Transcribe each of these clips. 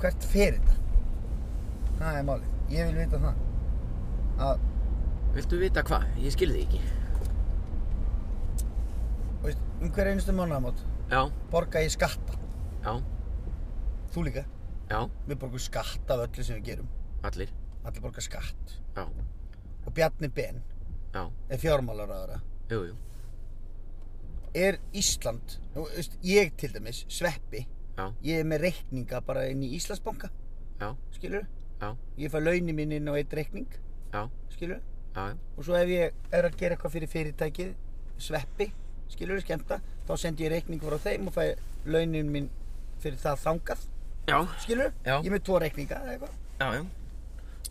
hvert fer þetta? Það er málið. Ég vil vita það. Að, Viltu vita hvað? Ég skilði ekki. þú veist, um hver einustu mánaðamót Já, borga ég skatta. já, Þú líka. já, Við borgum skatt af öllu sem við gerum. allir. Allir borga skatt. Já, Og Bjarni Ben já, er fjármálaráðara. jú, jú, Er Ísland, nú, þú veist, ég til dæmis, sveppi, já, ég er með reikninga bara inn í Íslandsbanka, já, skilur? já, Ég fæ launin mín inn á eitt reikning, já, skilur? já, já, Og svo ef ég er að gera eitthvað fyrir fyrirtækið, sveppi, skilur, skemmta, þá sendi ég reikning frá þeim og fæ launin mín fyrir það þangað, já, skilur? Já. Ég er með tvo reikninga eða eitthvað. já, já.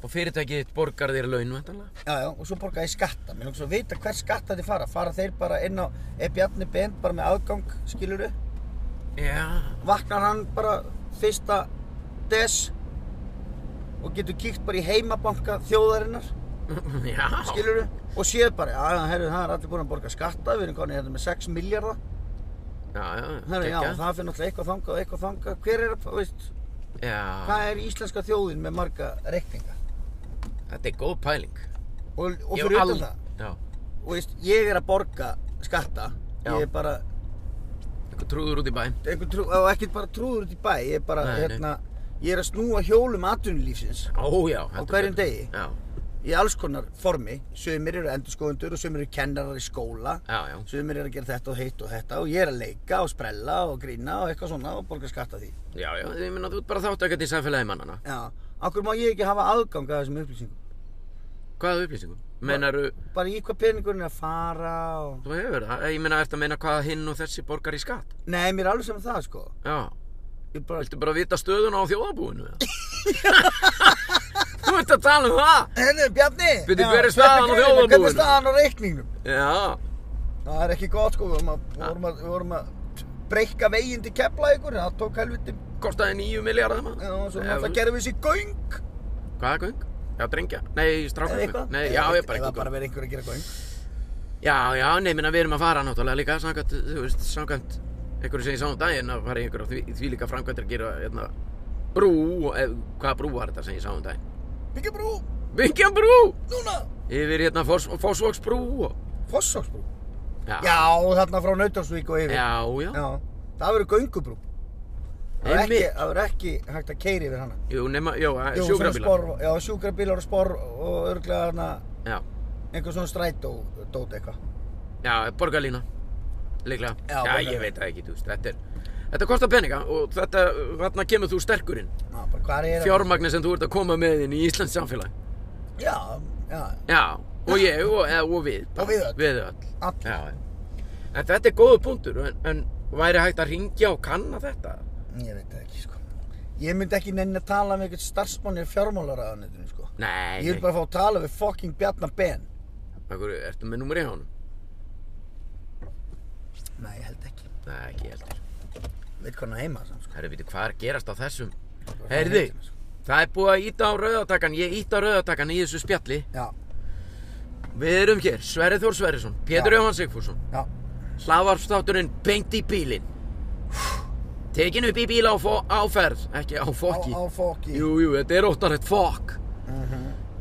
Og fyrirtækið þitt borgar þér laun, væntanlega. Já, já, og svo borga ég skatta. Mér langar svo að vita hver skatta þið fara. Fara þeir bara inn á, er Bjarni Ben bara með aðgang, skiluru? Já, Vaknar hann bara fyrsta des og getur kíkt bara í heimabanka þjóðarinnar, já, skiluru? Og séð bara, já, herru, það er allir búin að borga skatta, við erum konið hérna með 6 miljardar. já, já, Herru, já, geggjað. Ah. það fyrir náttúrulega eitthvað þangað og eitthvað þangað. Hver er, þú veist, já, hvað er íslenska þjóðin með marga reikninga? þetta er góð pæling. Og, og Ég fyrir utan hef al- það, Já, og veist, ég er að borga skatta, Já. ég er bara eitthvað trúður út í bæn. einhver trú, og ekkert bara trúður út í bæ ég er bara, Nei, nei. hérna, ég er að snúa hjólum atvinnulífsins Ó, já, heldur hverjum betur. degi? Já, í alls konar formi sömur eru endurskoðendur og sömur eru kennarar í skóla já, já, sömur eru að gera þetta og hitt og þetta og ég er að leika og sprella og grína og eitthvað svona og borga skatta því já, já, ég minna þú ert bara þátt ekkert í samfélagi mannana. já, okkur má ég ekki hafa aðgang að þessum upplýsingum Hvaða upplýsingum? Meinaru, bara í hvað peningurinn er að fara og... þú hefur það, ég minna eftir að meina hvað hinn og þessi borgar í skatt. nei, mér er alveg saman það sko Já, ég bara, Viltu bara vita stöðuna á þjóðabúinu? eða? Þú ert að tala um það? henni, Bjarni Bíddu, Já, hver er staðan á hérna, hvernig- hvernig þjóðarbúinu? er staðan á reikningnum Já, Það er ekki gott sko, við vorum að, við vorum að, við vorum að breyka veginn til kepla ykkur, það tók helviti kostaði nýju miljardar maður. Já, og svo Ef- náttúrulega gerðum við þessi göng Hvaða göng? Já, drengja. Nei, Eða strákagöng. eitthvað Nei, já, Eða- ég bara Eða ekki bara göng. verið einhver að gera göng Já, já, nei, minna við erum að fara náttúrulega líka samkvæmt, þú veist, samkvæmt einhverju sem ég sá um daginn að fara í einhverju því, því líka framkvæmtir að gera hérna, brú, og ef, hvaða brú var þetta sem ég sá um daginn? Byggja brú, Byggja brú! núna Yfir hérna Foss- Fossvogsbrú og... Fossóksbrú Já, Já, þarna frá Nautalsvík og yfir Ah. já, já. Það verður göngubrú Það verður ekki, Einmitt. það verður ekki hægt að keiri yfir hana Jú, nema, jú, Jú, svona sjúkrabílar. spor- Já, sjúkrabílar og spor og örglega hana Já. einhver svona strætó dót eitthvað Já, borgarlína Líklega Já, Já, borgarlína. ég veit það ekki, þú veist, þetta er Þetta kostar peninga og þetta, þarna kemur þú sterkurinn Já, bara hvað er að- Fjármagni sem þú ert að koma með inn í Íslands samfélag Já, já, Já, og ég og, eða, og við bara. Og við öll. Við öll all Já, já. en þetta er góðu punktur en, en væri hægt að ringja og kanna þetta Ég veit það ekki sko Ég myndi ekki nenni að tala með eitthvað starfsmanni í fjármálaræðanetinu sko Nei, Ég vil nei, bara fá að tala við fucking Bjarnar Ben Akkur, ertu með númur í honum? Nei, ég held ekki Nei, ekki heldur Veit hvað hann á heima samt sko Herri, veitu, hvað er að gerast á þessum? Bara sko. fara Heyrði, heim til hans. það er búið að íta á rauðatakan Ég íta á rauðatakan í þessu spjalli Já, Við erum hér, Sverri Þór Sverrisson, Pétur Já. Jóhann Sigfússon já, Hlaðvarpstátturinn beint í bílinn Tekin upp í bíla á, fó- á ferð Ekki á á, fokki á Mhm. fokki Jú, jú, þetta er óttanlegt fokk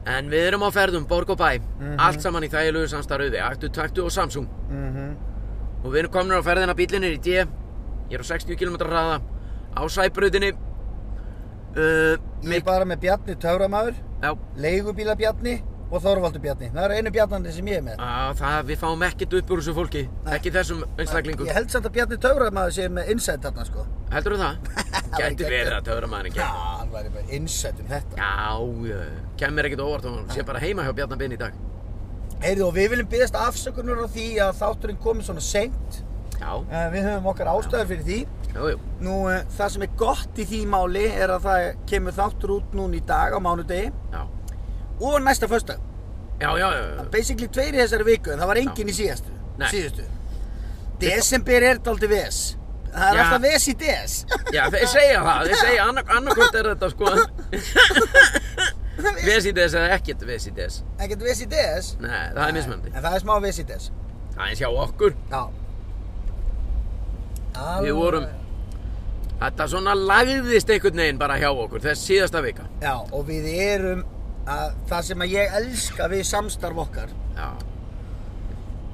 En við erum á ferðum, borg og bæ Allt saman í þægilegu samstarfiði Aktu, taktu og Samsung Mhm. Og við erum komin á ferðina, bílinn er í D Ég er á 60 km hraða Á sæbrautinni uh, Ég er bara með Bjarni Töframæður Já, Leigubíla Bjarni og Þorvaldur Bjarni Það eru einu Bjarnandi sem ég er með á, það, við fáum ekkert upp úr þessu fólki Nei. Ekki þessum einstaklingu Ég held samt að Bjarni Töframæður sé með insight þarna sko Heldur þú það? væri Gæti verið geggjað. að Já, töframæðin ekki hann væri bara insight um þetta Já, já, kem mér ekkert á óvart og hann sé bara heima hjá Bjarnar Binn í dag Heyrðu og við viljum byggðast afsökunar á því að þátturinn komið svona seint Já, Eh, Við höfum okkar ástæður fyrir því jú, jú, Nú, eh, það sem er gott í því máli er að það kemur þáttur út núna í dag á mánudegi já og næsta föstudag. Já, já, já, Basically tveir í þessari viku en það var engin í síðastu. Nei. Síðustu. Desember er þetta aldrei ves. Það er Já. alltaf ves í des. já, þeir segja það, þeir segja annark, annarkvort er þetta sko Vesides eða ekkert Vesides Ekkert ves í des. Nei, það er mismöndi En það er smá ves í des. Það er sjá okkur Já. Við vorum Þetta svona lagðist einhvern veginn bara hjá okkur, þess síðasta vika. Já, og við erum að það sem að ég elska við samstarf okkar Já,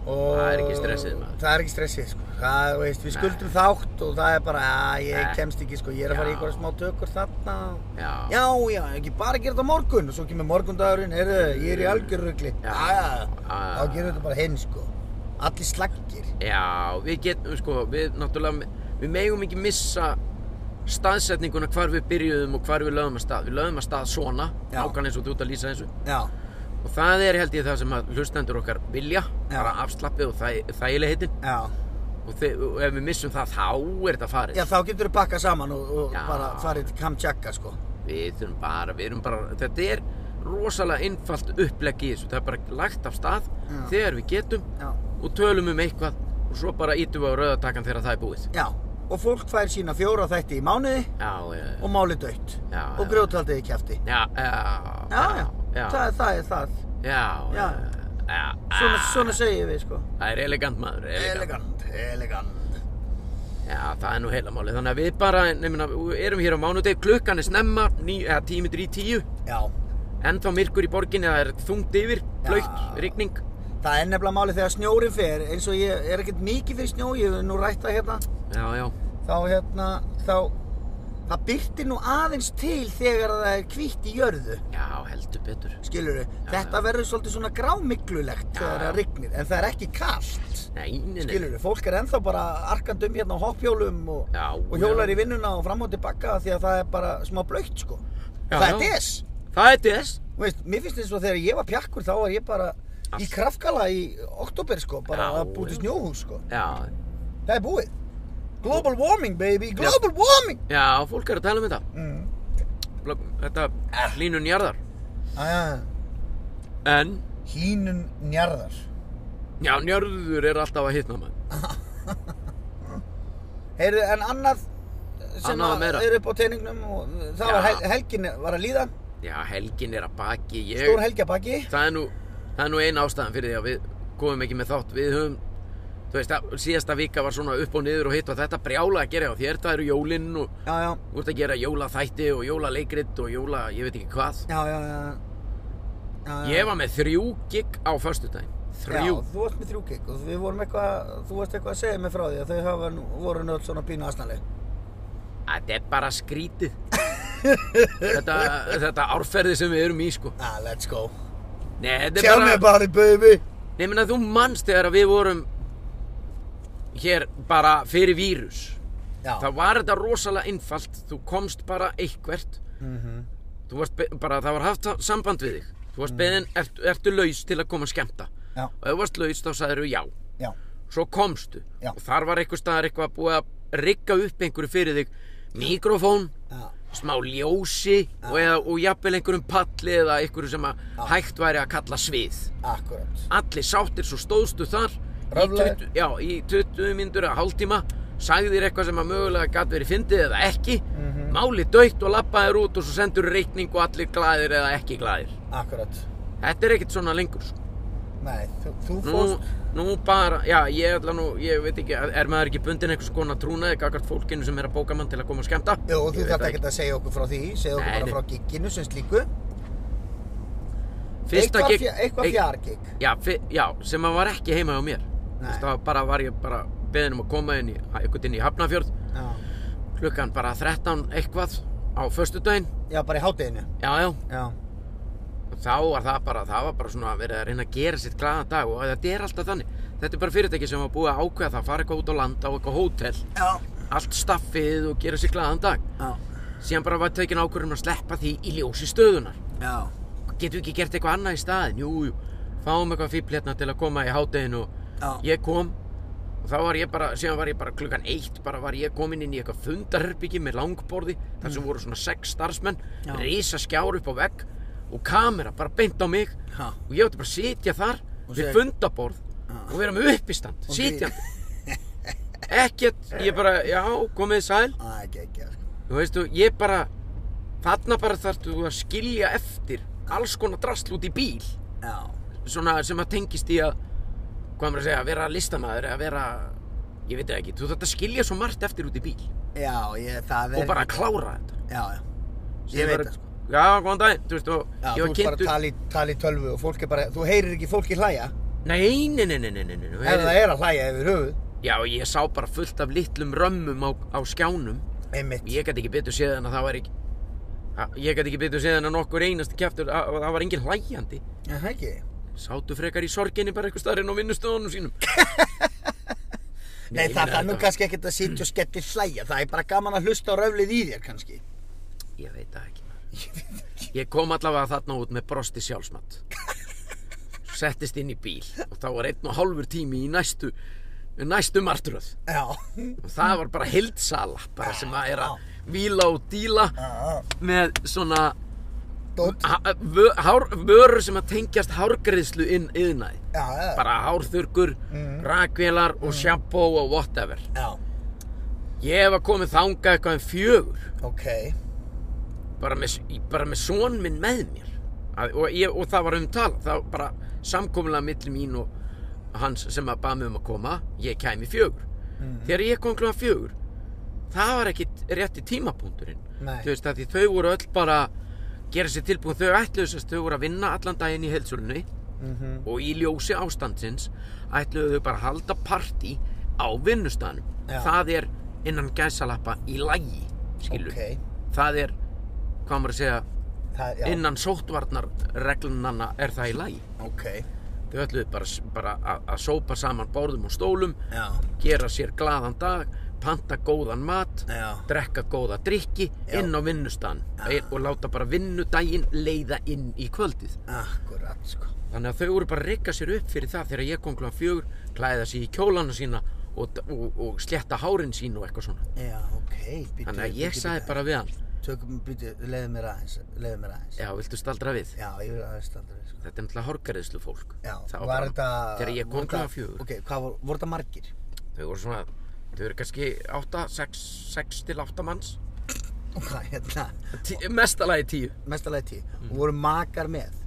og Það er ekki stressið, maður. Það er ekki stressið, sko. Það, þú veist, við skuldum þátt og það er bara, að ég Nei. kemst ekki, sko, ég er að fara í Já. einhverja smá tökur þarna. já. Já, já, ekki bara gera þetta á morgun og svo kemur morgundagurinn, heyrðu, ég er í algjörrugli. Já. Já, já, Já. þá gerum við þetta bara hinn, sko. Allir slaggir. Já, við getum, sko, við náttúrulega, við megum ekki missa staðsetninguna hvar við byrjuðum og hvar við lögum að stað. Við lögum að stað svona, Já. nákvæmlega eins og þú ert að lýsa þessu. Já, Og það er held ég það sem að hlustendur okkar vilja, Já. bara afslappið og þæ, þægilegheitin. já. Og, þe- og ef við missum það, þá er þetta farið. Já, þá getur við bakkað saman og, og Já. bara farið til Kamchakka, sko. Við þurfum bara, við erum bara, þetta er rosalega einfalt upplegg í þessu. Það er bara lagt af stað Já. þegar við getum Já. og tölum um eitthvað og svo bara ítum við á rauðatakan þegar það er búið. Já, og fólk fær sína fjóra þætti í mánuði Já, já, já. og máli dött. Já, Og já. grjótaldið í kæfti. Já, já, Já, já, já, Það, er- það er það. já, Já. já, Svona, já. svona segjum við, sko. Það er elegant maður, Ah. elegant. Elegant, elegant. Já, það er nú heila máli. Þannig að við bara, nefnum, við erum hér á mánudeg, klukkan er snemma, ní, eða tímitur í tíu, Já, ennþá myrkur í borginni, það er þungt yfir, blöytt, Já. rigning. það er nefnilega máli þegar snjórin fer, eins og ég er ekkert mikið fyrir snjó, ég hef nú rætt það hérna, Já, já, þá hérna, þá, það byrtir nú aðeins til þegar það er hvítt í jörðu, já, heldur betur. skilur Þetta verður svolítið svona grámiglulegt þegar Já. það rignir, en það er ekki kallt. Nei, nei, nei. Skilur fólk er ennþá bara arkand um hérna á hoppjólum og, Já, og já. hjólar í vinnuna og fram og tilbaka því að það er bara smá blöytt sko. Já, það er já. des. Það er DS. Þú Veist, mér finnst eins og þegar ég var pjakkur þá var ég bara í Allt. kraftkala í oktober sko, bara Já, að búti já. snjóhús sko. Já, Það er búið. Global warming baby, global warming! já, fólk er að tala um þetta. Mm. Blö- Ah. Þetta línun jarðar. Aja, En, hínun njarðar. já, njörður er alltaf að hitna maður. Heyrðu, en annað sem Annað og að meira. er upp á teiningnum og það Já. var hel, helgin var að líða, Já, helgin er að baki. Ég... stór helgjabaki. það er nú, það er nú eina ástæðan fyrir því að við komum ekki með þátt við höfum þú veist, að síðasta vika var svona upp og niður og hitt og þetta brjála að gera hjá þér það eru jólinn og Já, já, þú ert að gera jólaþætti og jólaleikrit og jóla, ég veit ekki hvað já, já, já. já, já. ég var með þrjú gig á föstudaginn þrjú, Já, þú varst með þrjú gig og við vorum eitthvað, þú varst eitthvað að segja mig frá því að þau hafa nú- voru nöll svona pínu aðsnaleg. þetta er bara skrítið þetta, þetta árferði sem við erum í sko Ah, let's go. Nei, þetta Tell er me bara, about it, baby. Nei, menna, þú manst þegar að við vorum hér bara fyrir vírus Já, Það var þetta rosalega einfalt, þú komst bara eitthvert, mhm, þú varst be- bara, það var haft samband við þig, þú varst beðin, ert, ertu laus til að koma að skemmta já, og ef þú varst laus þá sagðir já, já, svo komstu Já. og þar var einhver staðar eitthvað búið að rigga upp einhverju fyrir þig, mikrofón, já, smá ljósi og, eða, og jafnvel einhverjum palli eða einhverju sem að hægt væri að kalla svið. akkurat. Allir sáttir svo stóðstu þar Röflaðir. í 20, Já, í 20 myndur eða hálftíma Sagðir eitthvað sem að mögulega gæti verið fyndið eða ekki Mhm. Máli döitt og lappaðir út og svo sendur reikning og allir glæðir eða ekki glæðir Akkurat. Þetta er ekkert svona lengur sko. Nei, þú, þú Nú, fórst, nú bara, já, ég ætla nú, ég veit ekki, er maður ekki bundin einhvers konar trúnaði Gagart fólkinu sem er að bóka mann til að koma og skemmta jú, Ég þú veit þarft það ekkert að segja okkur frá því, segja okkur Nei, bara nei. frá gigginu sem slíku. Fyrsta Eitthvað gig- fja- Eitthvað eitt- fjargigg. Já, fi- já, sem að var ekki heima hjá mér Þú Nei. veist, Það var bara, var ég bara beðin um að koma inn í, einhvern inn í Hafnafjörð Já, klukkan bara 13 eitthvað á föstudaginn já, bara í hátteginu. já, já, Já, þá var það bara það var bara svona að vera að reyna að gera sitt glaðan dag og þetta er alltaf þannig þetta er bara fyrirtæki sem var búið að ákveða það að fara eitthvað út á land á eitthvað hótel, já, allt staffið og gera sér glaðan dag já, síðan bara var tekin ákvörðum að sleppa því í ljósi stöðunar já, getum við ekki gert eitthvað annað í staðin jú, jú, fáum eitthvað fíbl hérna til að koma í hádeginu og já. ég kom og þá var ég bara, síðan var ég bara klukkan eitt bara var ég komin inn í eitthvað fundarherbyggi með langborði, þar sem voru svona sex starfsmenn, Mm. Já. risa skjár upp á vegg og kamera bara beint á mig Já. og ég átti bara að sitja þar Og við segja- fundaborð Já. og vera með uppistand, Og sitja ekkert, ég bara, já, komið sæl Æ, geggjað, sko. þú veistu, ég bara þarna bara þarftu þú að skilja eftir alls konar drasl út í bíl Já, svona sem að tengist í að hvað maður að segja, að vera listamaður eða vera, ég veit það ekki, þú þarft að skilja svo margt eftir út í bíl já, ég, það er og bara klára þetta já, já, Ég ég veit bara- það sko já, góðan daginn, þú veist, og já, ég þú var ert bara að kynntur tala í, tala í tölvu og fólk er bara þú heyrir ekki fólki hlæja nei, nei, nei, nei, nei, nei, nei, nei. ef það er að hlæja yfir höfuð já, ég sá bara fullt af litlum römmum á, á skjánum einmitt ég gæti ekki betur séð en að það var ekki Ha- ég gæti ekki betur séð en að nokkur einasti kjaftur að, að það var engin hlæjandi Já, það ekki sátu frekar í sorginni bara eitthvað starinn á vinnustofunum sínum Nei, það ég meina það er nú þetta- kannski ekkert að sitja og skellir hlæja Það er bara gaman að hlusta á röflið í þér kannski Ég veit það ekki maður. Ég kom allavega þarna út með brosti sjálfsmat Settist inn í bíl Og þá var einn og hálfur tími í næstu Næstu martröð Já Og það var bara hildsala Bara sem að er að víla og díla Ah, Með svona Dótt ha- vö- hár- Vörur sem að tengjast hárgreðslu inn yðnaði Já, já Bara hárþurkur, rakvélar og sjampó og whatever Já, Ég var komið þangað eitthvað en fjögur ok bara með, í- bara með són minn með mér að, og, ég, og það var um tal það var bara samkomulega milli mín og hans sem að bað mig um að koma ég kæmi fjögur Mhm. þegar ég kom klugan fjögur það var ekki rétti tímapunkturinn Nei. þú veist að því þau voru öll bara gera sér tilbúin þau ætluðu sérst þau voru að vinna allan daginn í heilsölunni Mhm. og í ljósi ástandsins ætluðu þau bara að halda partí á vinnustanum Já. það er innan gæsalappa í lagi skilur Ok. það er hvað maður að segja Það, já, innan sóttvarnar reglunanna er það í lagi ok þau ætluðu bara, bara að, að sópa saman borðum og stólum Já, gera sér glaðan dag panta góðan mat já, drekka góða drikki Já. inn á vinnustan og láta bara vinnudaginn leiða inn í kvöldið akkurat sko þannig að þau voru bara að rikka sér upp fyrir það þegar ég kom klugan fjögur, klæða sér í kjólana sína og, og, og sletta hárin sín og eitthvað svona Já, ok býtu, þannig að ég býtu, sagði býtu. bara við hann Tökum, býtu, leiðu mér aðeins Leiðu mér aðeins já, viltu staldra við? Já, ég vil aðeins standa við sko þetta er náttúrulega hárgæriðslu fólk Já, Það var bara- þetta þegar ég kom voru þetta- klugan fjögur Ok, hvað voru, voru þetta margir? þau voru svona, þau eru kannski 8, 6, 6 til 8 manns Ok, hérna Tí, mestalagi 10 Mestalagi tíu Mm. Og voru makar með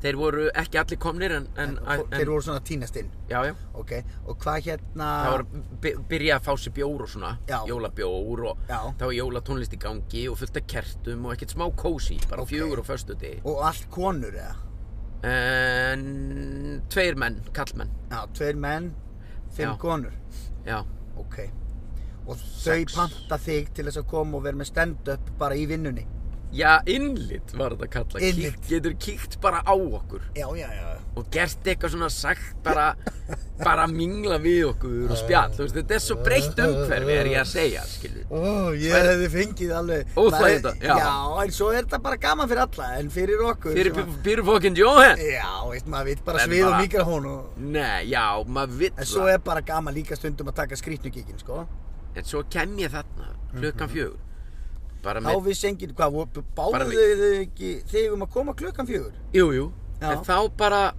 þeir voru ekki allir komnir en, en, en, Þeir voru svona að tínast inn já, já, Ok, og hvað hérna það var by- byrjað að fá sér bjór og svona Já. jólabjór og Já. það var jólatónlist í gangi og fullt af kertum og ekkert smá kósi bara Ok. fjögur á föstu degi Og allt konur eða? en tveir menn, kallmenn Já, tveir menn, fimm Já. konur já, Ok Og Sex. þau panta þig til þess að koma og vera með stand-up bara í vinnunni já, innlit var þetta kallað Innlit. Kíkt- getur kíkt bara á okkur Já, já, já og gert eitthvað svona sagt bara, bara mingla við okkur og spjall, þú veist, þetta er svo breytt umhverfi er ég að segja, skilur Ó, ég Svær... hefði fengið alveg Óþæginda, Maður- já. Já, en svo er þetta bara gaman fyrir alla En fyrir okkur fyrir sem að- fyrir fokkin Jóhann Já, veist maður, við bara En svið og bara- mikrofón og... nei, já, maður vill En það svo er bara gaman líka stundum að taka skrýtnugíkin, sko en svo kem ég þarna, klukkan fjögur bara Mhm. Þá með, vissi enginn, hvað, voru- Bara báðu við- þau ekki þig um að koma klukkan fjögur? jú, jú Já. en þá bara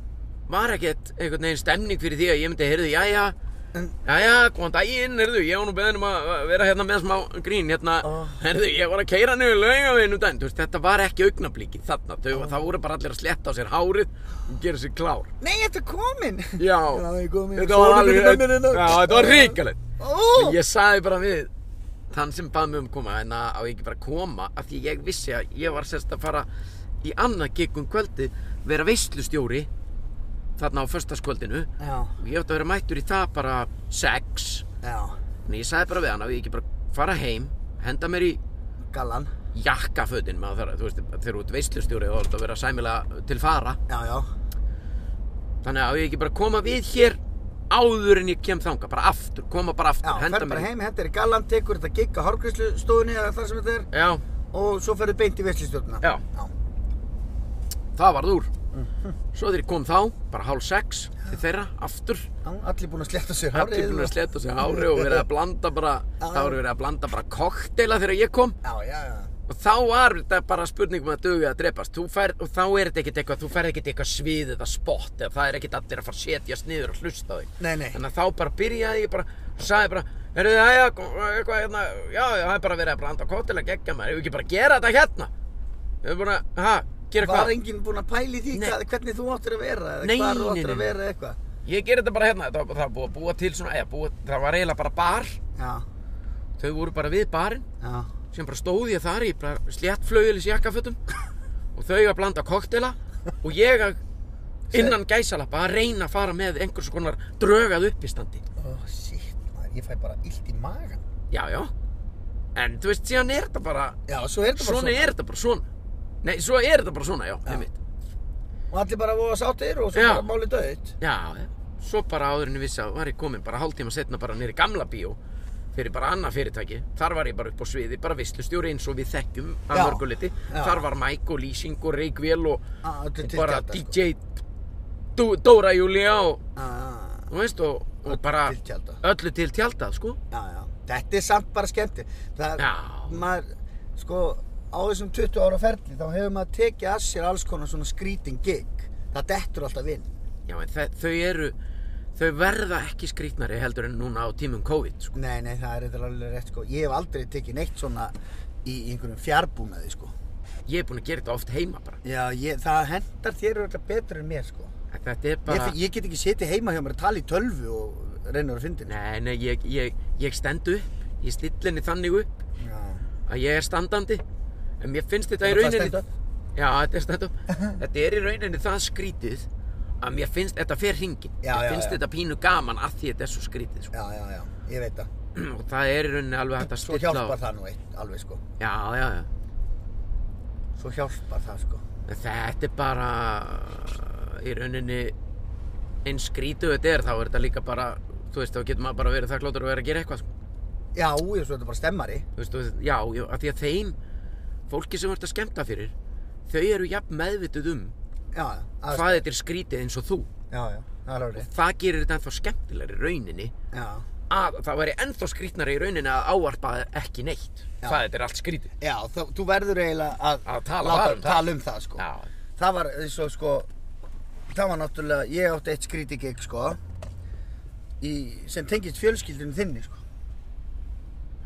var ekkert einhvern veginn stemning fyrir því að ég myndi, heyrðu, jæja En- jæja, góðan daginn, heyrðu, ég var nú beðin um að að vera hérna með smá grín, hérna Ah. heyrðu, ég var að keira niður laugaveginn um daginn, þú veist, þetta var ekki augnablíkið þarna, þau, það voru bara allir að sletta á sér hárið og gera sér klár Nei, þetta er komin Já, Það er komin þetta var Sólin er alveg, komin hérna. já, þetta var ríkalegt Ó, Ég sagði bara við þann sem bað mig um að koma en að á ég ekki bara að koma af því ég vissi að ég var sérst að fara í annað gig um kvöldi vera veislustjóri þarna á föstaskvöldinu Já, og ég átti að vera mættur í það bara sex já, en ég sagði bara við hann að ég ekki bara fara heim henda mér í gallan jakkafötin maður þarf, þú veist, þegar þú ert veislustjóri þá átti að vera sæmilega til fara Já, já, þannig að á ég ekki bara að koma við hér áður en ég kem þanga, bara aftur koma bara aftur, já, fer bara í- heim, hendur í gallan, tekur þetta gigg á hárgríslustofunni eða þar sem þetta er Já, og svo ferðu beint í veslistjórnuna Já. já, það varð úr Svo þegar ég kom þá, bara hálf sex til þeirra, aftur Já, allir búin að sletta sér hárið Allir búin að sletta sig hári og verið að blanda bara Já. Það voru verið að blanda bara kokteila þegar ég kom Já, já, já, Og þá var þetta bara spurningum að duga að drepast Þú fær, og þá er þetta ekkert eitthvað, þú færð ekkert eitthvað svið eða spott eða það er ekkert allir að fara að setjast niður og hlusta á þig nei, nei Þannig að þá bara byrjaði ég bara, sagði bara, heyrðu það, já, eitthvað hérna, já, já, það er bara verið að blanda kokteila geggja maður, ef við ekki bara að gera þetta hérna Við erum búin að, ha, gera hvað? Var enginn búin að pæli því Nei. hvað, hvernig þú áttir að vera eða Nei, hvar þú nei, áttir nei, að nei. vera eða eitthvað Ég ger þetta bara hérna, það, það var búið að búa til svona, eða búa, það var eiginlega bara bar, Já, þau voru bara við barinn já, sem bara stóð ég þar í bara sléttflögilis jakkafötum og þau að blanda koktela og ég að innan gæsalappa að reyna að fara með einhvers konar drögað uppistandi ó, shit, maður, ég fæ bara illt í magan já, já en þú veist, síðan er þetta bara já, svo er þetta bara svona er þetta bara svona nei, svo er þetta bara svona, já, Já. einmitt og allir bara voða sáttir og svo Já. bara máli döitt já, já, svo bara áður en ég vissi að var ég komin bara hálftíma setna bara nýri gamla bíó fyrir bara annað fyrirtæki þar var ég bara upp á sviði, bara visslustjóri eins og við þekkjum að Já. mörguliti Já. þar var mæk og lýsing og reikvél og bara og bara sko. DJ Dó- Dóra Júlia og, já, þú veist, og, og Öllu bara til tjaldað. öllu til tjaldað, sko. já. þetta er samt bara skemmti það Já. maður, sko á þessum 20 ára ferli þá hefur maður tekið að sér alls konar svona skrítin gig það dettur alltaf inn Já, en þe- þau eru, þau verða ekki skrýtnari heldur en núna á tímum COVID, sko. nei, nei, það er þetta alveg rétt sko ég hef aldrei tekið neitt svona í einhverjum fjárbúnaði sko Ég er búin að gera þetta oft heima bara. já, ég, það hendar þér auðvitað betur en mér sko En Þetta er ég, bara, ég get ekki setið heima hjá mér að tala í tölvu og reynur að fyndi nei, nei, ég, ég, ég stend upp, ég stilli henni þannig upp að ég er standandi. En mér finnst þetta í rauninni, já, þetta er stand up. Uh-huh. þetta er í rauninni það skrítið að mér finnst, þetta fer hringin. Já, mér já, finnst já. þetta pínu gaman að því þetta er svo skrítið, sko. já, já, já, ég veit það og það er í rauninni alveg hægt að Svo stilla hjálpar á- það nú eitt, alveg sko. já, já, já Svo hjálpar það sko. En þetta er bara í rauninni eins skrítu þetta er þá er þetta líka bara þú veist þá getur maður bara verið þakkláttur og verið að gera eitthvað sko. Já, ég svo þetta er bara stemmari. þú veist, og- já, já, að því að þeim fólki sem þú ert að skemmta fyrir þau eru jafn meðvituð um Já, já, að- hvað þetta er skrítið eins og þú já, já, það er alveg rétt. það gerir þetta ennþá skemmtilegri í rauninni Já, að það væri ennþá skrítnari í rauninni að áarpa ekki neitt Já. hvað þetta er allt skrítið já þá, þú verður eiginlega að, Að tala láta- bara um það. tala um það sko. já, Það var eins og sko, það var náttúrulega, ég átti eitt skríti gig sko, í, sem tengist fjölskyldinu þinni sko.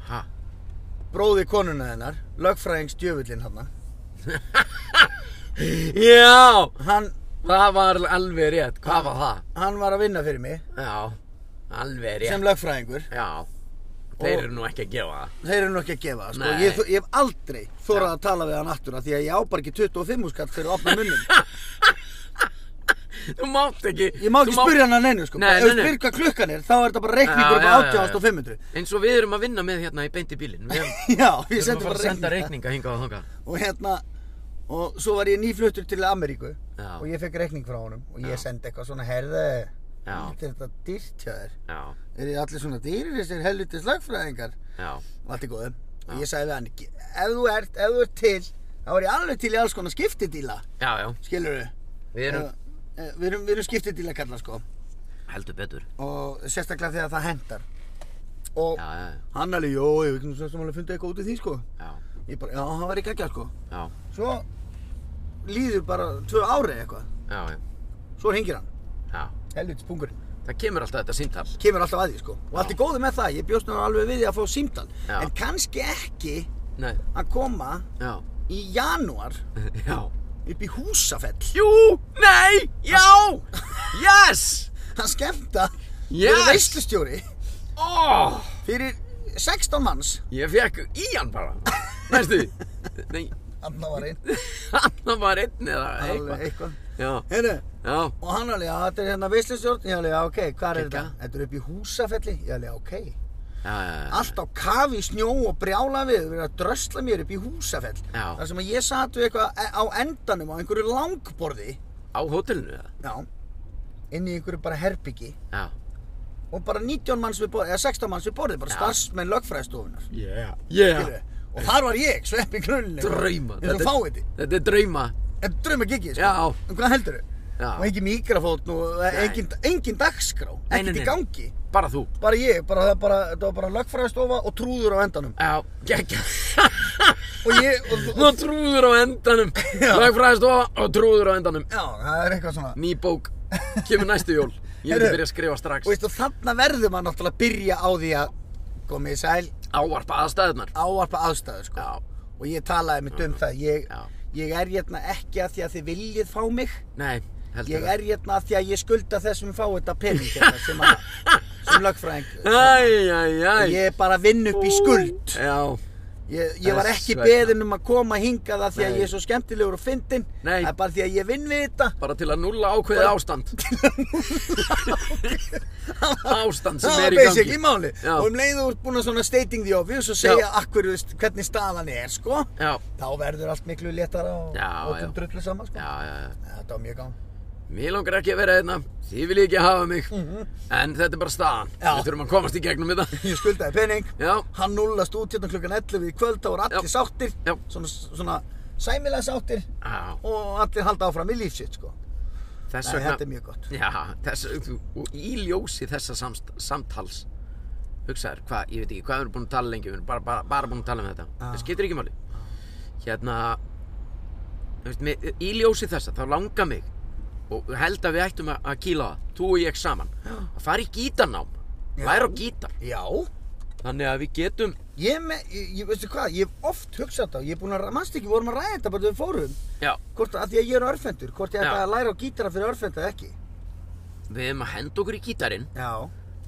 ha, Bróði konuna hennar, lögfræðings djöfullinn hann, já hann, Það var alveg rétt, hvað var það? hann var að vinna fyrir mig Já, alveg rétt sem lögfræðingur. Já, þeir Og- eru nú ekki að gefa það Þeir eru nú ekki að gefa það sko. Nei. Ég, ég hef aldrei þórað að tala við hann aftur af því að ég á bara ekki 25 skall fyrir að opna munnin. Þú mátt ekki Ég má ekki þú mátt- spyrja hann að neinu sko. Nei, Nei, nei, Ef þú nei. spyrir hvað klukkan er, þá er þetta bara reikningur Já, upp á já, já, 80 já. og 500. Eins og við erum að vinna með hérna í beinti bílinn Við erum, Já, við ég sendi erum að fara bara að senda reikninga. reikninga hingað og þangað Og hérna, og svo var ég nýfluttur til Ameríku Já. og ég fekk reikning frá honum og ég Já. sendi eitthvað svona, herðu, Já. þetta er þetta dýrt hjá þér. Já, Er þið allir svona dýrir þessir helvitis lagfræðingar? já, Og allt í góðu. Og Já. ég sagði við hann, ef þú ert, ef þú ert til, þá er ég alveg til í alls konar skiptidíla, já, já skilur Við erum, eh, Við erum, við erum skiptidíla kalla sko heldur betur og sérstaklega þegar það hendar. Og Já, já, já, Hann alveg, jó, ég veit ekki sem alveg fundið eitthvað út í því, sko. já, Ég bara, já, hann var ekki ekki, sko. já, Svo líður bara tvö ári eitthvað. já, já, Svo hengir hann. já. Helvits pungurinn. Það kemur alltaf þetta síntal Kemur alltaf að því, sko. Og allt er góðu með það. Ég bjóst nú alveg við því að fá símtal. Já. En kannski ekki Nei, að koma já, í janúar já upp í húsafell. Jú, nei, já, yes, Hann skemmta Yes! fyrir veislustjóri óh fyrir 16 manns. Ég fekk í hann bara Næstu Nei, Anna var einn. hann var einn eða Alveg eitthvað eitthvað. Já, Heyrðu, já, Og hann alveg, já, þetta er hérna veislustjórn. Ég alveg, já, ok, hvað er Kekka. þetta? Þetta er upp í húsafelli. Ég alveg, ok. já, já, já. allt á kafi í snjó og brjála við verið að drösla mér upp í húsafell Já. þar sem að ég sat við eitthvað á endanum á einhverju langborði Á hótelinu eða? já, inn í einhverju bara herbyggi Já og bara 19 manns við borði, eða 16 manns við borði bara Já. starfsmenn lögfræðstofunar Yeah, yeah. skilurðu. og þar var ég, sveppi grunninn Drauma eins og fáið því, Þetta er drauma en drauma gigið sko. Já. en hvað heldur þau? Já. og engin mikrofón og engin, engin dagskrá Nei, nei, ekkert nei. í gangi Bara þú bara ég, bara, það bara, þetta var bara lögfræðstofa og trúður á endanum Já, gegg og ég, og, Nú trúður á endanum Já. Lagfræðistofa og trúður á endanum Já, það er eitthvað svona Ný bók Kemur næstu jól Ég myndi Heyrðu. byrja að skrifa Og strax veistu, þarna verður maður náttúrulega að byrja á því að komið í sæl, Ávarpa aðstæðunar ávarpa aðstæðu sko. Já, Og ég talaði mitt um það, ég, Já. ég er hérna ekki að því að þið viljið fá mig nei, heldur Ég er hérna að því að ég skulda þessum fá þetta pening hérna sem að, sem sem lögfræðing Æj, æj, æj. ég er bara að vinna upp í skuld Já, ég, ég var Þess ekki vegna. beðin um að koma hingað af því að Nei. ég er svo skemmtilegur og fyndin Nei. það er bara því að ég vinn við þetta bara til að nulla ákveðið ástand. ástand sem það er er í gangi. Ah, basically máli Já. og um leiðu þú ert búin að svona stating the obvious og segja akkur, veist, hvernig staðan er sko Já, þá verður allt miklu léttara og Já, já. ótum drullu saman sko. já, já, já. þetta var mjög gán Mér langar ekki að vera hérna, þið vil ekki hafa mig, en þetta er bara staðan. Mhm. Já. Við þurfum að komast í gegnum þetta. ég skuldaði pening Já, hann nullast út hérna klukkan 11 í kvöld þá voru allir Já. sáttir Já. svona, svona sæmilega sáttir já, og allir halda áfram í líf sitt sko. þess Nei, vegna... þetta er mjög gott Já, þess, þú- og í ljósi þessa samst, samtals hugsaður, hvað, ég veit ekki, hvað við erum búin að tala lengi við erum bara, bara, bara búin að tala um þetta Já. það skiptir ekki máli hérna þú veist, mig, í ljósi þessa, þá langar mig og held að við ættum að, að kýla á það þú og ég saman, að fara í gítarnám Já. læra á gítar já þannig að við getum, ég, me, ég, ég veistu hvað ég hef oft hugsað þetta og ég er búin að mannst ekki við vorum að ræða þetta bara þegar við fórum já, hvort að því að ég er örfendur hvort ég Já. ætla að læra á gítara fyrir örfenda eða ekki við hefum að henda okkur í gítarinn já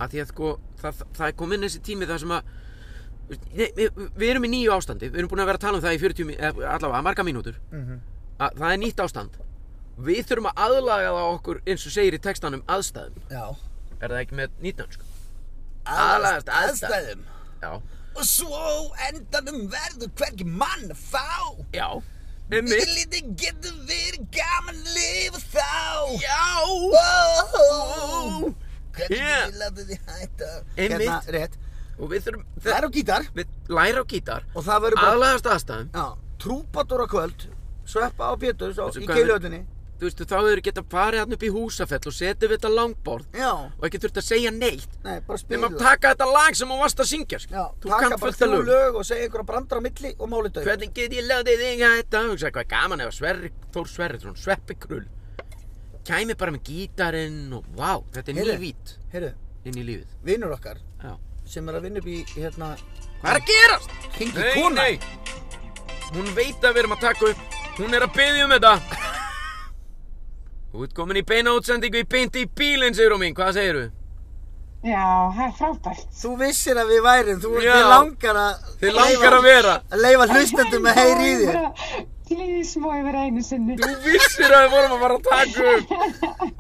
að því að sko, það, það er komin þessi tími þar sem að Nei, við, við erum í nýju ástandi, við erum búin að vera að tala um það í 40, mí- eða allavega marga mínútur Mhm. að það er nýtt ástand við þurfum að aðlaga það okkur eins og segir í textanum aðstæðum já er það ekki með nýtnönsku? Aðlagast aðlagast aðstæðum. aðstæðum Já, og svo á endanum verður hvergi mann að fá já Emil, Lítið getur verið gaman lifa þá já oh, Hvernig Yeah. yeah. láta þið hætta Einmitt. Hérna, rétt og við þurfum Það er á gítar við læra á gítar Og það verður bara aðlagast aðstæðum já, Trúbadur á kvöld Sveppa á Pétur svo, Þessu Í gömlu- keilöðinni þú veistu, þá hefur geta farið hann upp í húsafell og setið við þetta langborð Já og ekki þurft að segja neitt Nei, bara við spila maður taka þetta lag sem hún varst að syngja sko. Já, þú taka kannt bara fullt að þrjú lög lög og segja einhverja brandar á milli og máli dög Hvernig get ég látið þig að þetta? Hugsa, hvað er gaman ef að Sverri, Þór Sverriðsson, Sveppi Krull kæmi bara með gítarinn og vá, þetta er Heyrðu. nývít Heyrðu, inn í lífið. vinnur okkar Já. sem er að vinna upp í hérna Hvað er að gerast? Hringi kona. nei. Hún veit að við erum að taka upp. Hún er að byggja um þetta. Þú ert komin í beina útsendingu í beinti í bílinn, segir hún mín. Hvað segir þú? Já, það er frábært. Þú vissir að við værum, þú Já. þið langar að Þið langar að vera. að leifa hlustendum að heyri í þér Please, má ég vera einu sinni. Þú vissir að við vorum að fara að taka upp.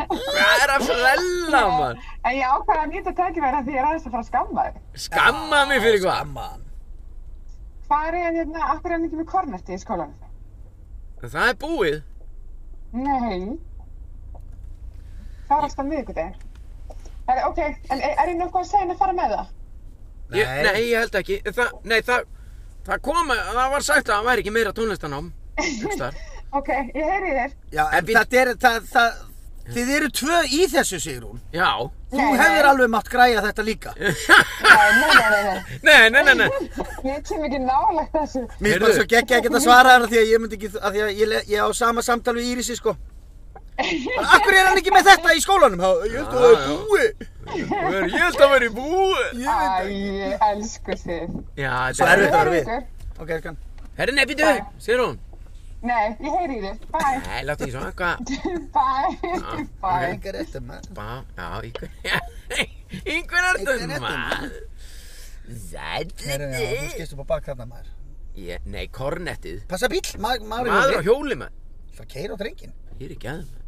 Hvað er að frella, mann? En ég ákvæða að nýta tækifæra því ég er aðeins að fara að skamma þig. Skamma mig fyrir hvað? Skammaðan Hvað er ég að hérna, akkur er hann ekki með kornetti í skólanum? Það er búið. Nei. Það var alltaf miðvikudegi. Er, ok, en er, er ég nokkuð að segja henni að fara með það? Ég, Nei. nei, ég held ekki. Þa, nei, það, það kom, það var sagt að það væri ekki meira tónlistanám. Hugstar. Ok, ég heyri í þér. Já, en, En við- þetta er, það, það, þið eru tvö í þessu, Sigrún. Já. Þú hefur alveg mátt græja þetta líka. Nei, nei, nei, nei, nei. Nei, nei, nei, nei. Ég kem ekki nálægt þessu. Mér er bara Heyrðu. svo geggja ekkert að svara þarna því að ég myndi ekki, að því að ég, le- ég á sama samtal við Írisi, sko. Bara, Akkur er hann ekki með þetta í skólanum? Há, ég held að það Já, er já. búi. Ég er- ég held að væri búið. Ég veit Æ, það. ég elsku þið. Já, Svo þetta erfitt er... að vera við. Þórhildur. Ok, Erkan. Herri, nei, býtu, sér hún. Nei, ég heyri í þér. Bye. Nei, láttu ekki svona, hvað? Ah, Bye. Bye. Engar réttum, maður. Bá, já, einhver... Einhver er Einhver þetta, er maður. Heyrðu, já, þú Sætliði. skipst upp á bak þarna, maður. Nei, kornettið. Passa bíl, maður, maður, Maður á maður. hjóli, maður. Það keir á drengin. Ég er ekki aðeins, maður.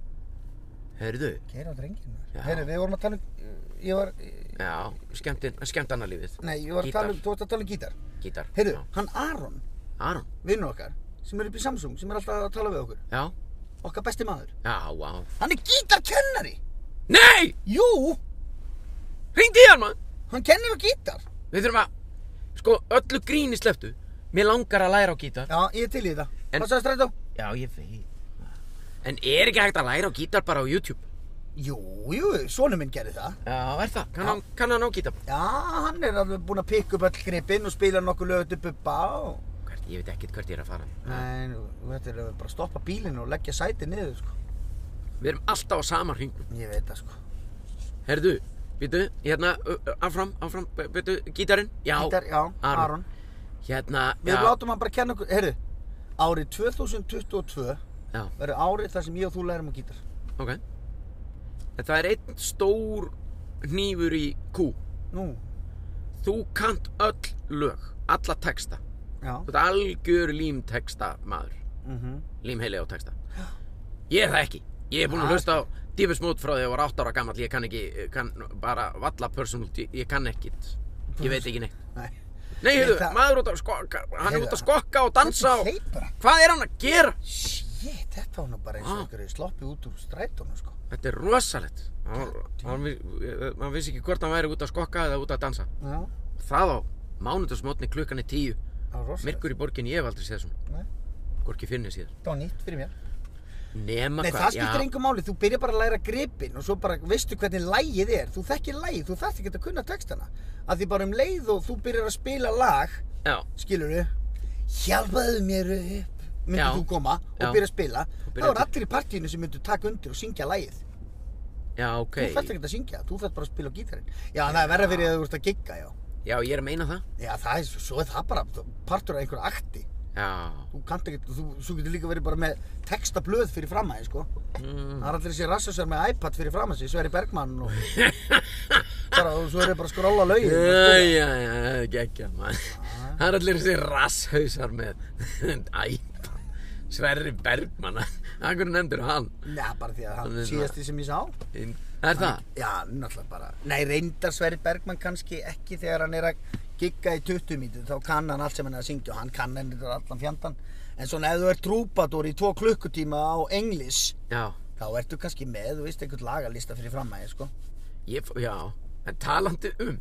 Herðu, Keir á drengin, Já. maður. Heyrðu, við vorum að tala um, ég var, já, skemmtinn, skemmtannarlífið. nei, ég var að Gítar. tala um, þú varst að tala um gítar. Gítar. Heyrðu, Já. hann Aron, Aron, vinnu okkar sem er upp í Samsung, sem er alltaf að tala við okkur já, okkar besti maður, já, vá. hann er gítarkennari Nei! jú, Hringdi í hann maður hann kennir á gítar Við þurfum að, sko, öllu gríni slepptu Mér langar að læra á gítar já, ég er til í það, En- hvað sagði strætó? Já, ég veit En er ekki hægt að læra á gítar bara á YouTube? jú, jú, sonu minn gerði það Já, er það? Kann, hann, kann hann á gítar? já, hann er alveg búinn að pikka upp öll gripinn og spila nokkuð lögut upp upp á Hvert, ég veit ekkert hvert ég er að fara en þetta er bara að stoppa bílinn og leggja sæti niður sko. Við erum alltaf á sama hringnum ég veit það sko Herðu, býtu, hérna, ö, ö, áfram, áfram, býtu, gítarinn Já, gítar, já, Aron. Aron, hérna, við já, látum hann bara kenna okkur, heyrðu árið 2022 já, verður árið þar sem ég og þú lærum á gítar ok En það er einn stór hnífur í kú Nú, Þú kant öll lög, alla texta. já. Þú ert algjör límtexta maður. Mm Límheili á texta. Ég er það ekki. Ég er búin að Ha? hlusta á Dífus Mót frá því að ég var 8 ára gamall. Ég kann ekki, eh, kann bara valla personal, ég, ég kann ekkit. Ég veit ekki neitt. Nei. Nei, Nei, heyrðu, það- maður út að skokka, hann er Heyrðu, út að skokka og dansa og... Þetta hleypur hann. Hvað er hann að gera? Shit, þetta var nú bara eins og Ah. einhverju sloppi út úr strætónu, sko. Þetta er rosalegt. Hann, var- hann, vi- hann vissi ekki hvort hann væri út að skokka eða út að dansa. Já, Það á mánudagsmótni klukkan er tíu. það var rosalega. Myrkur í borginni, ég hef aldrei séð svona. Nei. Hvorki finnir síðan. Þetta var nýtt fyrir mér. Nema Nei, hvað? það skiptir já. engu máli. Þú byrjar bara að læra gripin og svo bara veistu hvernig lægið er. Þú þekkir lægið, þú þarft ekki að kunna textana. Að því bara um leið og þú byrjar að spila lag, Já, skilur hjálpaðu mér upp, myndir Já. þú koma Já. og byrja að spila. Þá byrjar er til- allir í partíinu sem myndir taka undir og syngja lægið. já, ok. Þú þarft ekki að syngja, þú þarft bara að spila á gítarinn. Já, það er verra fyrir að þú ert að gigga, já. Já, ég er að meina það. Já, það er, svo er það bara partur af einhverju akti. Já. Þú kannt ekki, þú, þú getur líka verið bara með textablöð fyrir framæði, sko. Mm. Það er allir þessi rassasör með iPad fyrir fram að sig, Sveri Bergmann og... bara, og svo er ég bara að skrolla lögin. Já, bara að já, já, það er geggjað maður. Það er allir þessi rasshausar með æpa. Sverri Bergmann, akkur nefndur hann? spila. Nei, bara því að hann Hann er síðasti sem ég sá. Inn- Það er það? Já, náttúrulega bara. Nei, reyndar Sveri Bergmann kannski ekki þegar hann er að gigga í 20 mítið, þá kann hann allt sem hann er að syngja og hann kann henni þetta allan fjandan. En svona ef þú ert trúbadur í tvo klukkutíma á englis, Já, þá ertu kannski með, þú veist, einhvern lagalista fyrir framæði, sko. ég, já, en talandi um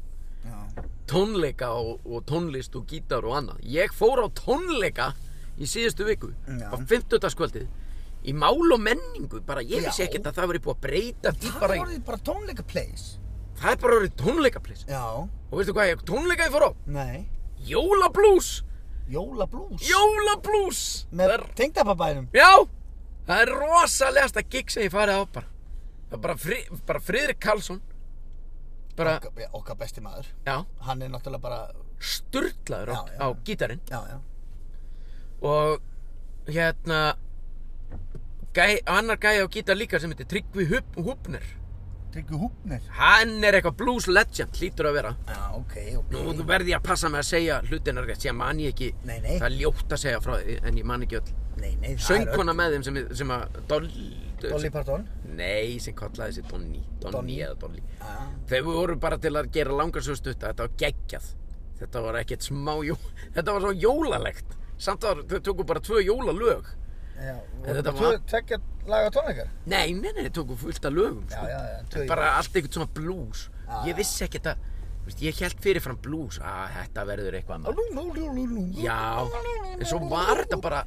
Já. tónleika og, og tónlist og gítar og annað. Ég fór á tónleika í síðustu viku, Já. á 50. í mál og menningu, bara ég vissi Já. ekkert að það veri búið að breyta því Það bara í, voruð bara tónleika place. það er bara orðið tónleikaplis. Já. Og veistu hvað ég, tónleika ég fór á? Nei. Jólablús! Jólablús. Jólablús! Með Það er, tengdapabænum? já, það er rosalegasta gig sem ég farið á bara. Það er bara, fri, bara Friðrik Karlsson, bara, Okkar, okkar besti maður. já, Hann er náttúrulega bara, sturlaður á, Já, já. á gítarinn. já, já. og hérna gæ, annar gæja á gítar líka sem heitir Tryggvi Hup, Hupner Tryggvi Húbner. hann er eitthvað blues legend, hlýtur að vera Já, ok, ok. nú þú verði ég að passa með að segja hlutina rétt sem man ég ekki, Nei, nei. það er ljótt að segja frá því en ég man ekki öll Nei, nei, það söngkona er með þeim sem, sem að Dolly, öll. Dolly Parton. nei, sem kallaði þessi Donny Donny, Donny. eða Dolly Já. þeir voru bara til að gera langar svo stutt að þetta var geggjað þetta var ekkert smá jó, þetta var svo jólalegt samt að þau tóku bara tvö jólalög Já, En voru þetta tvö var- tvekja laga tónleikar? Nei, nei, nei, tóku fullt af lögum Já, sko. já, já, En tvö í Bara allt einhvern svona blues Já, já. Ég vissi ekkert að þú veist, Ég held fyrirfram blues að þetta verður Á, eitthvað maður Lú, lú, lú, lú, lú. Já, en svo var þetta bara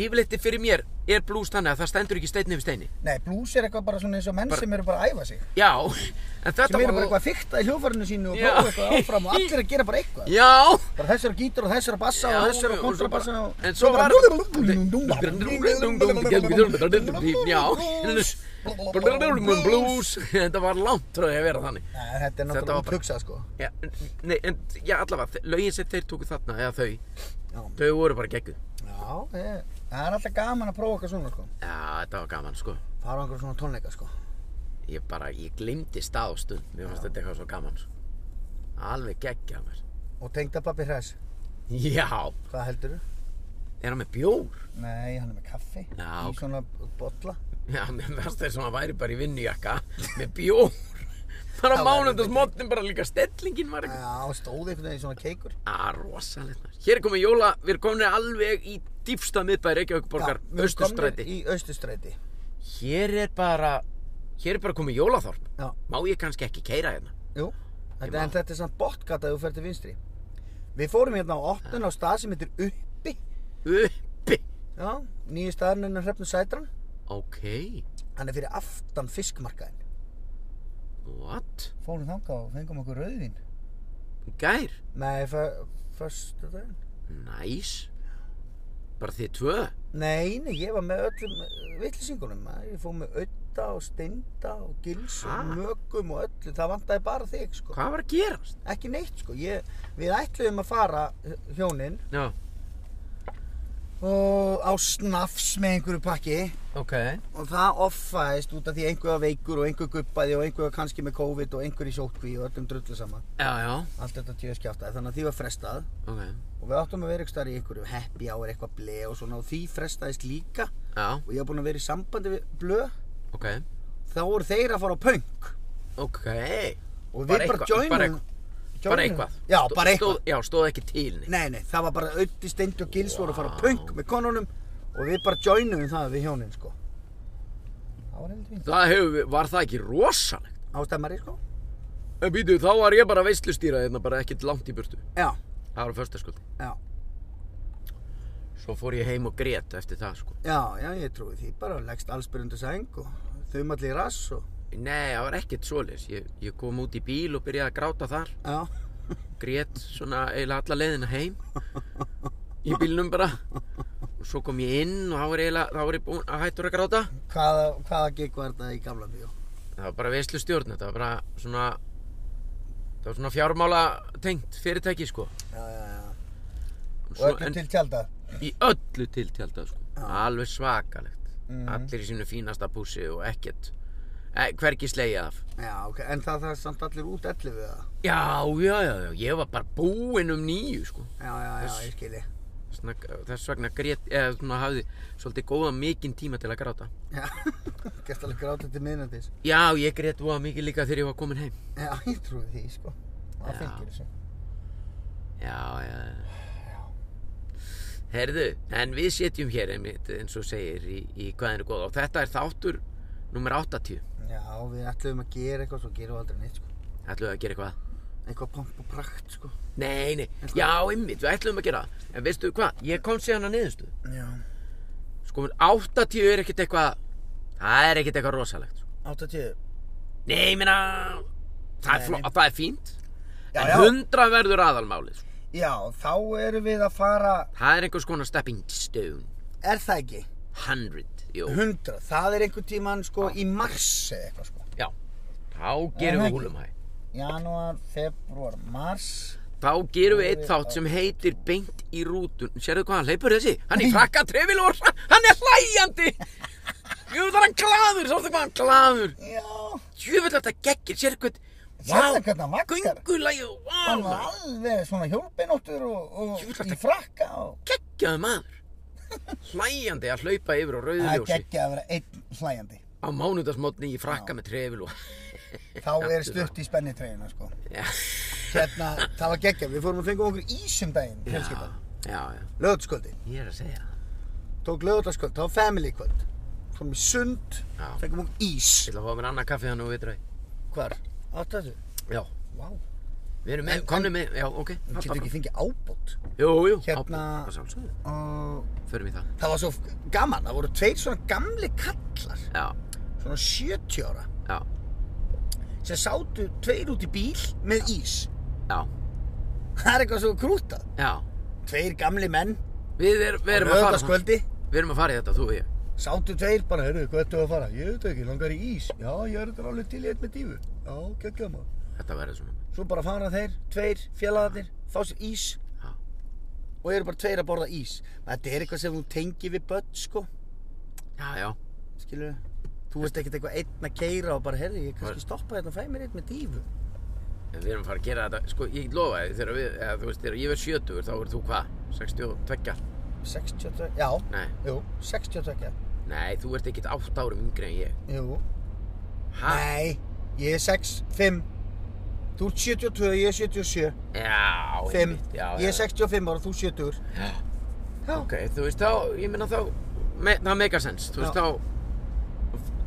Yfirleitti fyrir mér er blues þannig að það stendur ekki steinn yfir steini Nei, blues er eitthvað bara svona eins og menn sem eru bara að æfa sig. Já, en þetta Sem eru bara var eitthvað að fykta í hljófarinu sínu og Já. prófa eitthvað áfram og allir að gera bara eitthvað. Já, Bara þessar á gítar og þessar á bassa Já, og þessar á og svo bara- kontrabassa og... en svo var- Já, blues Þetta var langt frá því að vera þannig Nei, þetta er Þetta náttúrulega var bara- upphugsað, sko. Já, en- nei, en já, allavega, þe- lögin sem þeir tóku þarna, eða þau, Já. þau voru bara gegguð. Já, ég, það er alltaf gaman að prófa eitthvað svona sko. Já, þetta var gaman, sko. Fara á einhverjum svona tónleika sko. Ég bara, ég glimti stað og stund, mér fannst þetta eitthvað svo gaman, sko. Alveg geggjað mér. Og tengdapappi hress, Já, hvað heldur þú? er hann með bjór? Nei, hann er með kaffi Já, í ok. svona bolla. Já, mér fannst þetta svona væri bara í vinnujakka, með bjór. Bara Það væri mánundasmotnin, bara líka stellingin var eitthvað. Já, stóð einhvern veginn í svona keikur. Á, rosalegt maður. Hér er komið jóla, við erum komin alveg í dýfsta miðbæri Reykjavíkuborgar, Já, við erum komnir Östustræti. Í Östustræti. Hér er bara, hér er bara komið jólaþorp. Já, Má ég kannski ekki keira hérna? jú. Þetta, Ég en má. þetta er svona botgata ef þú fer til vinstri. Við fórum hérna á opnun á stað sem heitir Uppi. Uppi! Já, nýju staðarinn hennar hrefnu sætran. Ok, Hann er fyrir aftan fiskmarkaðin. what? Fórum þangað og fengum okkur rauðin. Gær? Nei, fyrstu daginn. Næs Bara þið tvö? Nei, nei, ég var með öllum vittlisingunum. Ég fóð með ötta og steinda og gils og Ha? mögum og öllu. Það vantaði bara þig, sko. Hvað var að gerast? eh, Ekki neitt, sko. Ég, við ætluðum að fara hjónin Já, og á snafs með einhverju pakki Ok. og það offaðist út af því einhver var veikur og einhver guppaði og einhver var kannski með COVID og einhver í sótkví og öllum drullu saman Já, já. allt þetta tíu skjátaði þannig að því var frestað Ok. og við áttum að vera ykkur starf í einhverju happy hour eitthvað ble og svona og því frestaðist líka Já, og ég var búinn að vera í sambandi við blö ok. þá voru þeir að fara á punk Ok. og við Bara bara, eitthvað- joinum bara eitthvað- joinum- Bara eitthvað. já Stó- bara eitthvað Stóð, já, stóð ekki til neitt. nei nei það var bara Ötti, Steindi og Gils voru að fara á Vá. punk með konunum og við bara joinum það við hjónin sko það var heldur fínt Það hefur, var það ekki rosalegt? ástæmari sko En býtu, þá var ég bara veislustýra hérna bara ekkert langt í burtu. já Það var á förstaskvöldi. já Svo fór ég heim og grét eftir það, sko. já já ég trúi því bara leggst allsbyrjundu sæng og þum allir í rass og Nei, það var ekkert svoleiðis. Ég, ég kom út í bíl og byrjaði að gráta þar. já Grét svona eiginlega alla leiðina heim. Í bílnum bara. Og svo kom ég inn og þá var, eiginlega, þá var ég búinn að hættur að gráta. hvaða hvaða gig var þetta í gamla bíó Það var bara veislu stjórn. Þetta var bara svona... Það var svona fjármála tengt fyrirtæki, sko. já já já og Svo, öllum til tjálta í öllu tiltjálta, sko. Já. Alveg svakalegt. Mhm. Allir í sínu fínasta pússi og ekkert. E, hvergi slegið af. já ok en það það er samt allir út ellu við það Já, já, já, já. Ég var bara búinn um nýju, sko. já já já ég skilji Svona, þess vegna grét, eða svona hafði svolítið góða mikinn tíma til að gráta. já gert alveg grátið til miðnættis Já, ég grét voða mikið líka þegar ég var komin heim. Já, ég trúi því, sko. Það Já. fylgir þessu. Já, já, já. Herðu, en við setjum hér einmitt, eins og segir í, í hvaðinu góða og þetta er þáttur nummer 80. Já, við ætlum að gera eitthvað, svo gerum við aldrei neitt, sko. Ætlum við að gera eitthvað? Eitthvað pomp og prakt, sko. Nei, nei, já, einmitt, við ætlum að gera það. En veistu hvað, ég kom síðan að niðurstu. Já. Sko, 80 er ekkert eitthvað, það er ekkert eitthvað rosalegt. sko. 80. Nei, ég meina, það, er Nei, fló- nei. það er fínt. Já, en já. 100 verður aðalmálið, sko. Já, þá erum við að fara, Það er einhvers konar stepping stone er það ekki? 100, jú 100. Það er einhvern tíman, sko, í mars eða eitthvað, sko. Já, þá gerum Nei, við ekki. húlumhæ Janúar, februar, mars. Þá gerum við eitt þátt sem heitir Beint í rútun Sérðu hvað hann leipur þessi? Hann er í frakka trefilor Hann er hlæjandi Jú, það er hann glaður, sáttu hvað hann glaður Já. Jú, vel þetta geggir, sérðu hvað Sérðu hvernig hann vaggar? Gungulægju, Hann var vá alveg svona hjólbeinóttur og, Ég og vil í ekki- frakka og... Geggjaðu maður Hlæjandi að hlaupa yfir á rauðu Það er ljósi geggja að vera einn hlæjandi. Á mánudagsmotni í frakka með trefil og Þá er stutt í spennitreyjuna, sko. Já, Hérna, það var geggja. Við fórum að fengja okkur ísum daginn, já, fjölskyldan. já, já. Lögutskvöldi. Ég er að segja það tók lögutaskvöld, þá family kvöld fórum í sund, Já. fengum okkur Ég ís ætla að fá mér annað kaffi þannig og við dræði. hvar? áttu þessu? Já. Vá, Við erum með, En- komnum með, já, ok. við getum ekki fengið ábót Jú, jú. Hérna- ábúð, Það sjálfsögðu. og Förum í það. það var svo gaman, það voru tveir svona gamli kallar Já, svona 70 ára já, sem sátu tveir út í bíl með ís já, það er eitthvað svo krútað já. tveir gamli menn Við, er, við á erum að fara það. lögutaskvöldi Við erum að fara í þetta, þú og ég. sátu tveir bara, heyrðu, hvað ertu að fara? ég veit ekki, langar í ís já, ég er þetta alveg til í eitt með dífu já, geggjum að Þetta verður svona. svo bara fara þeir, tveir félagarnir fá sér ís Já. og eru bara tveir að borða ís þetta er eitthvað sem þú tengir við börn sko Já, já. skilur þú veist ekkert eitthvað einn að keira og bara herri ég kannski stoppa hérna og fæ mér einn með dífu En við erum að fara að gera þetta, sko, ég lofa þið, þegar við, eða þú veist, þegar ég verð 70, þá verður þú hvað? 62? 62, já, Nei, jú, 62 nei, þú ert ekkit 8 árum yngri en ég. jú, Ha? nei ég er 6, 5 þú ert 72, ég er 77 Já, 5, einmitt, já, ég já. er 65 ára, þú 70 Já. Já. Ok, þú veist þá, ég meina þá, me, það meikar sens, þú veist Já.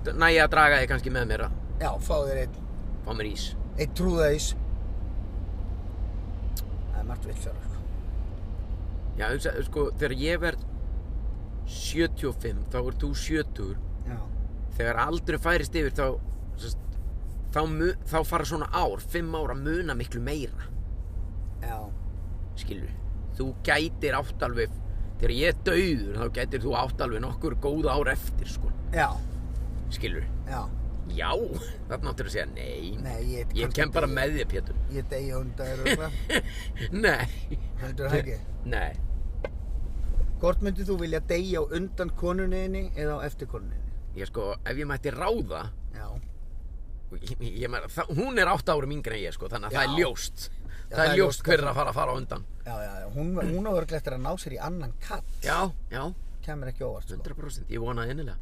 þá, næ ég að draga þig kannski með mér að já, fá þér einn, fá mér ís. einn trúðaís það er margt vill fjara sko. Já, hugsa, sko, þegar ég verð 75, þá er þú 70, já, þegar aldrei færist yfir þá, sest, þá, mu, þá fara svona ár, 5 ára muna miklu meira, já, skilur Þú gætir átt alveg, þegar ég er dauður, þá gætir þú átt alveg nokkur góð ár eftir, sko, já, skilur já Já, þarna áttur að segja nei, nei, ég, Ég kannski kem bara deyja- með þér, Pétur. ég deyja hundar og eitthvað Nei, heldur það ekki nei. Hvort myndið þú vilja deyja á undan konunniðinni eða á eftir konunniðinni? Ég sko, ef ég mætti ráða, Já. ég, ég, ég meina, það, hún er átt árum yngri en ég sko, þannig að það Já. er ljóst. Já, það er ljóst hver er að fara að fara á undan. Já, já, já. Hún, hún á örglega eftir að ná sér í annan kall. Já, já, Kæmur ekki óvart, sko. 100%, ég vona það innilega.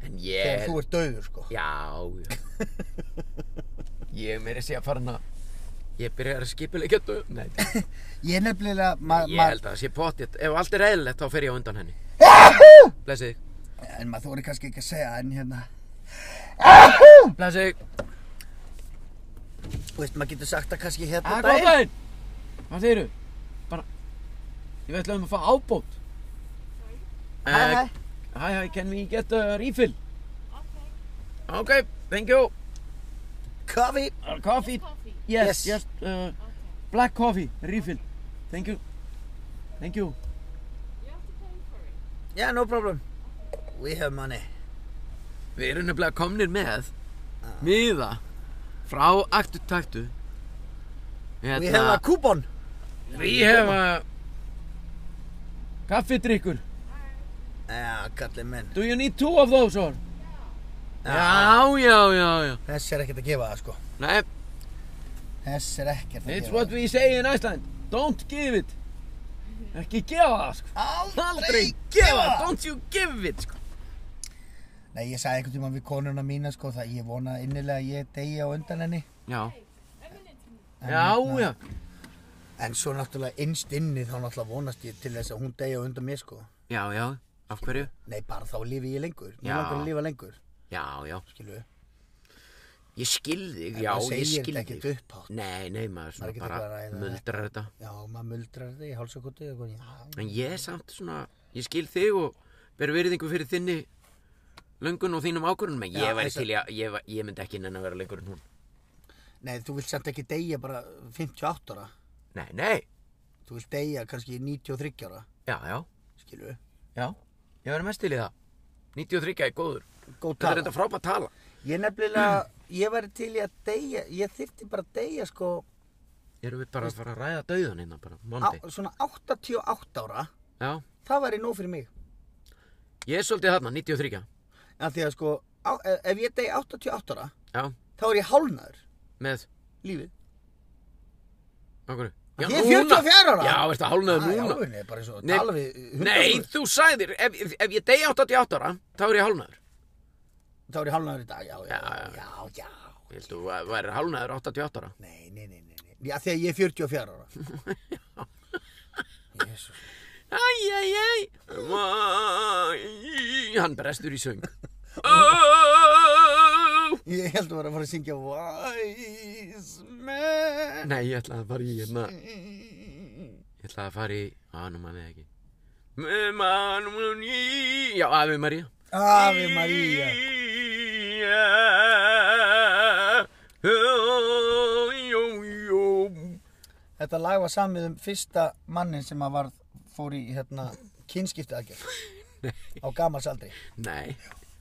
En ég... Þegar þú ert döður, sko. Já, já. Ég meiri sé að fara hana, ég byrjar að skipulegja döð. Nei, Ég nefnilega, ma, ég ma, held að það sé pottið. Ef allt er eðlilegt þá fer ég á undan henni. Blessið þig. en maður þóri kannski ekki að segja, en hérna, Blessið þig. þú veist, maður getur sagt að kannski hérna Að góð Ah, daginn. Hvað þeir eru? Bara, ég veit lögum að fá ábót. Eh, Hæ, hæ. Hæ, hæ, can we get a refill? Ok. Ok, thank you. Kavi. Uh, coffee. Yes, Yes. yes. uh, black coffee, refill. Thank you. Thank you. Yeah, no problem. We have money. Við erum nefnilega komnir með miða frá Hérna- aktu taktu We have a coupon. Við hefa Kaffidrykkur Já, kallið minn. Do you need two of those or? Já. Já, já, já, já Þess er ekkert að gefa það, sko. Nei, Þess er ekkert að it's gefa what það. we say in Iceland Don't give it Ekki gefa það, sko Aldrei gefa það, don't you give it, sko Nei, ég sagði einhvern tímann við konuna mína, sko, það ég vona innilega að ég deyja á undan henni. Já En Já, hérna- já En svo náttúrulega innst inni þá náttúrulega vonast ég til þess að hún deyja á undan mér, sko. Já, já, af hverju? Nei, bara þá lifi ég lengur. Mér Já. langar að lifa lengur, Já, já skilu. Ég skil þig, En já, maður ég segir skil þetta þig ekkert upphátt. Nei, nei, maður Maður svona getur eitthvað að bara ræða það. muldrar þetta Já, maður muldrar þig í hálsakotu eða eitthvað. Já, En ég er samt svona, ég skil þig og ber veriðingu fyrir þinni löngun og þínum ákvörunum en Já, ég væri þess að- til í að, ég, va- ég myndi ekki nenn að vera lengur en hún Nei, þú vilt samt ekki deyja bara 58 ára. Nei, nei, Þú vilt deyja kannski 93 ára, já, já, skilu. já, ég væri mest til í það 93 er góður, Góð þetta tala. er þetta frábært tala Ég nefnilega, ég væri til í að deyja, ég þyrfti bara að deyja, sko, Erum við bara að fara að ræða dauðan hérna bara, á, mándi svona 88 ára. Já, Það væri nóg fyrir mig. ég er svolítið þarna, 93 Af því að, sko, á, ef ég deyja 88 ára, Já, þá er ég hálnaður með, lífið. á hverju Já, Ég er núna. 44 ára. Já, ertu að hálnaður Æ, núna alveg, bara svo, Nei, tala við Nei, hundasögur. þú sæðir, ef, ef, ef ég degi 88 ára, þá er ég hálnaður Þá er ég hálnaður í dag, já, já, Já, já, já. Ég held að þú væri hálnaður 88 ára Nei, nei, nei, nei, nei. Já, þegar ég er 44 ára. Jésus. Æj, æj, æj Hann brestur í söng Ó. Ég held að vera að fara að syngja Wise man. Nei, ég ætlaði að fara í hérna Ég ætlaði að fara í Á, nú maður ekki Með mann hún í Já, Ave Maria Ave Maria. Jó, jó Þetta lag var samið um fyrsta mannin sem að var, fór í hérna, kynskipti aðgerð á gamalsaldri. Nei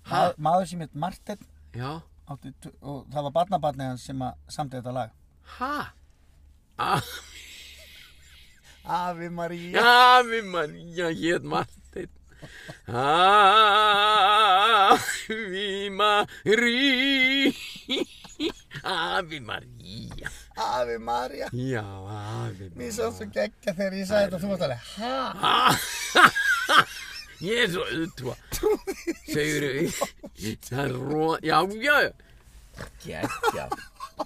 Ma- Maður sem heit Martin Já átti, tu- og það var barnabarnið hans sem að samti þetta lag. Ha Ah Ave Maria. Ave Maria, ég heit Marteinn. Ave Maria, Ave Maria, Ave Maria. já, Ave Mér Maria. svo svo geggja þegar ég sagði þetta, þú varst alveg, hæ? Ég er svo auðtúa. Segur við, það er ró, já, já, geggja.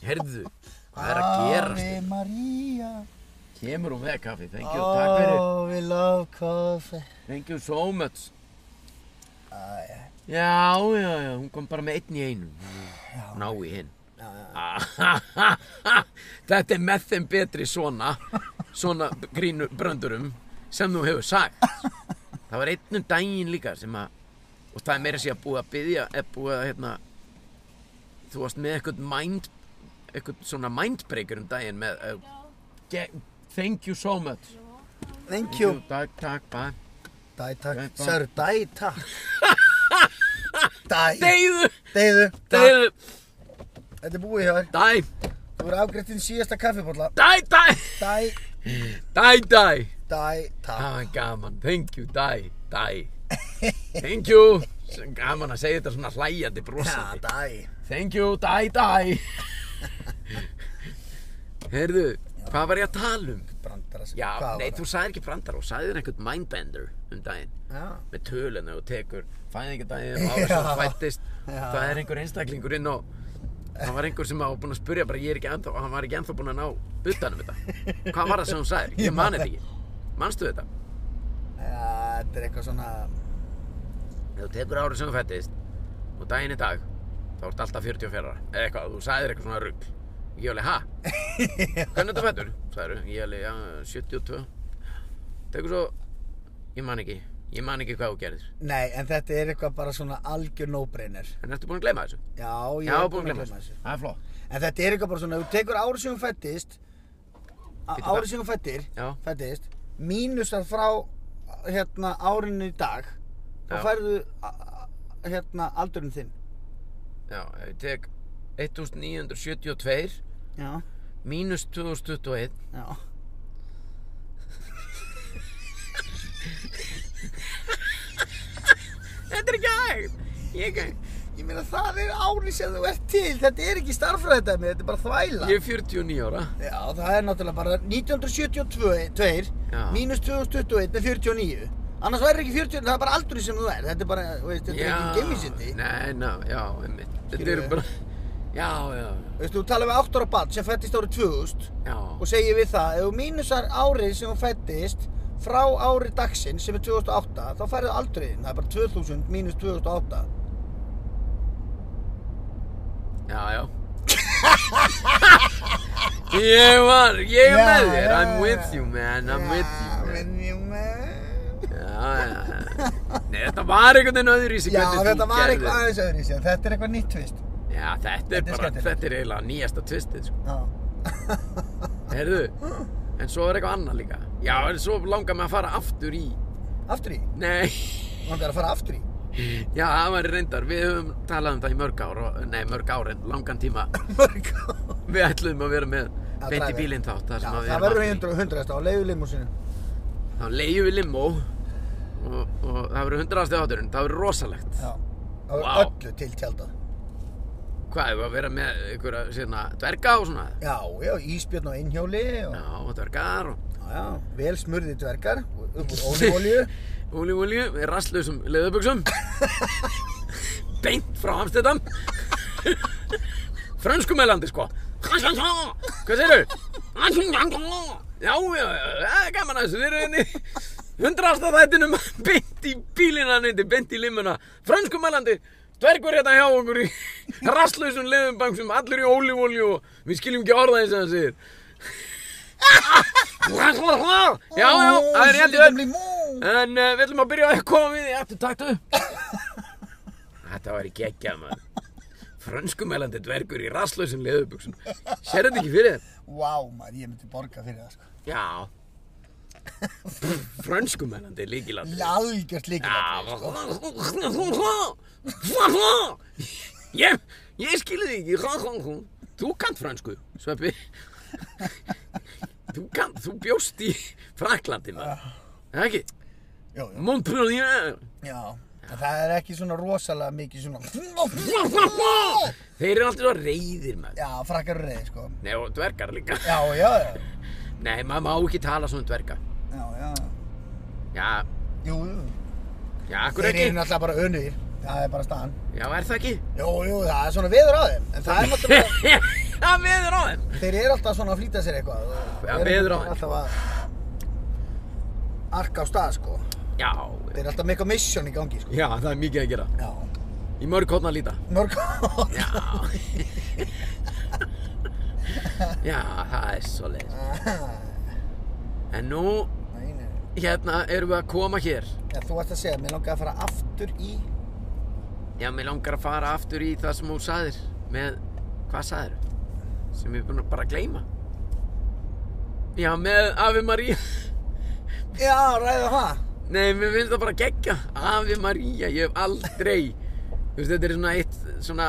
Herðu, hvað er að Ave gerast? Maria. Kemur hún með kaffi, thank you, takk fyrir, Oh, we love coffee. thank you so much. Ah, já, Já, já, já, hún kom bara með einn í einum. Ná í hinn. Ah, já, já. Þetta er með þeim betri svona svona grínu brandurum sem þú hefur sagt Það var einn um daginn líka sem að og það er meira sér að búið að byggja eða búið að hérna þú varst með eitthvað mind eitthvað svona mindbreaker um daginn með uh, ge- Thank you so much Thank you. Takk, takk, bæ Dæ Dæ, takk, takk. sör, dæ takk Dæ, Deyðu, deyðu, takk deyðu, Þetta er búið hjá þér, dæ, þú er afgrétt þinn síðasta kaffibólla dæ, dæ, Dæ dæ, dæ dæ, takk Það er gaman, thank you, dæ, dæ Thank you Sem Gaman að segja þetta svona hlæjandi Já, brosandi dæ Thank you, dæ, dæ Heyrðu, hvað var ég að tala um? Brandara sem Já, hvað nei, var þú sagðir ekki brandar og sagðir einhvern mindbender um daginn það? Já, með töluna og tekur fæðingadaginn Já. og ára sem hann fættist Já. það er einhver einstaklingur inn á það var einhver sem var búinn að spurja bara ég er ekki ennþá, hann var ekki ennþá búinn að ná utanum þetta hvað var það sem hún sagði? Ég ég man man þetta ekki manstu þetta? Já, þetta er eitthvað svona ef þú tekur ára sem hún fættist og daginn í dag þá ertu alltaf 44 ára. eða eitthvað, þú sagðir eitthvað svona rugg ég alveg, ha? hvernig þetta fættur? sagðir, ég alveg, já, 72 tekur svo ég man ekki, ég man ekki hvað þú gerðir Nei, en þetta er eitthvað bara svona algjör no-brainer en ertu búinn að gleyma þessu? Já, ég já, er búinn að gleyma þessu þessu það er flott En þetta er eitthvað bara svona, ef þú tekur árið sem hún fættist á- Bíddu, Árið hvað? sem hún fættir Já. Fættist Mínusar frá hérna árinu í dag Þá Já. færðu a- a- hérna aldurinn þinn Já, ef ég tek 1972 Já, mínus 2021 já Þetta er ekki hægt Ég, Ég meina það er árið sem þú ert til Þetta er ekki starffræðdæmi, þetta er bara þvæla ég er 49 ára Já, það er náttúrulega bara 1972 Já. mínus 2021 er 49 annars væri ekki 40, það er bara aldrei sem þú er þetta er bara, þú veist, þetta er ekki gemisindi Nei, ná, já, einmitt Þetta Skilurðu? eru bara Já, já, Veistu, þú talar við 8 ára barn sem fættist árið 2000 já og segir við það, ef þú mínusar árið sem þú fættist frá árið dagsinn sem er 2008, þá færðu aldriðin það er bara 2000 mínus 2008 Já, já Ég var, ég er Já, með þér já, I'm já. with you, man, I'm with you man. with you man Já, já Nei, þetta var einhvern veginn öðru í sig Já, þetta var eitthvað aðeins öðru í sig, þetta er eitthvað nýtt tvist Já, þetta er Þetta er bara, skemmtilegt. þetta er eiginlega nýjasta tvistið, sko Já, Heyrðu, en svo er eitthvað annað líka. Já, en svo langar mig að fara aftur í... aftur í, Nei, langar að fara aftur í já, það var reyndar. Við höfum talað um það í mörg ár, og- nei, mörg ár en langan tíma. mörg ár. Við ætluðum að vera með Já, beint í drive-in. bílinn þátt, þar Já, sem að við það verður hundra, hundraðast á leiðulimúsinu. í- Þá leiðum við limó og, og það verður hundraðasti átturinn. Það verður rosalegt. Já. Það verður Vá. öllu til tjaldað. Hvað, ef að vera með einhverja, svona, dverga og svona? Já, já, íspjörn og innhjóli og já. Já, og dvergar og já, vel smurði dvergar, upp úr ólífólju. Úli, úli, við rastlausum leðubuxum Beint frá Amstedam Frönskumælandi sko Hvað segirðu? Já, já, já, það er gaman að þessu Við erum henni hundrasta þættinum Beint í bílina neyndi, beint í limuna Frönskumælandi Dvergur hérna hjá okkur í rastlausum leðubangsum Allir í ólífólju og við skiljum ekki orða eins og það segir Já, já, það er rétt í öll öll. En uh, við ætlum að byrja að koma við í aftur taktu Þetta var í geggjað maður Frönskumælandi dvergur í rastlösum leðubuxum Sér þetta ekki fyrir þér? Vá, maður, ég myndi borga fyrir það, sko. Já Frönskumælandi líkilandi Ég algjört sko. líka. Ég, ég skilði ekki Þú kant fransku, Sveppi Þú kant, þú bjóst í Fraklandi maður Er það ekki? Jú, jú. Montpellier Já. En það er ekki svona rosalega mikið svona... Þeir eru alltaf svo reyðir maður Já, frakkar og reyði, sko. Nei og dvergar líka Já, já, já. Nei maður má ekki tala svona um dverga Já, já. Já, Jú, jú. já, akkur Þeir ekki eru náttúrulega bara önugir. Það er bara staðan. Já, er það ekki? Jú, jú, það er svona veður á þeim. En það er náttúrulega... Það veður á þeim Þeir eru alltaf svona að flýta sér eitthvað og Já, eru veður á þeim. alltaf að arka á stað sko Já, Þeir eru alltaf mikil mission í gangi sko já, það er mikið að gera Já Í mörg hóna líta Mörg Já Já, það er svo leið En nú, Nei, nei. hérna, erum við að koma hér Já, Þú ert að segja, mér langaði að fara aftur í Já, mér langar að fara aftur í það sem þú saðir Með, hvað saðir? Sem við erum búin að bara gleyma Já, með Afi María Já, ræða það Nei, mér finnst það bara geggja Ave Maria, ég hef aldrei Þú veist, þetta er svona eitt svona,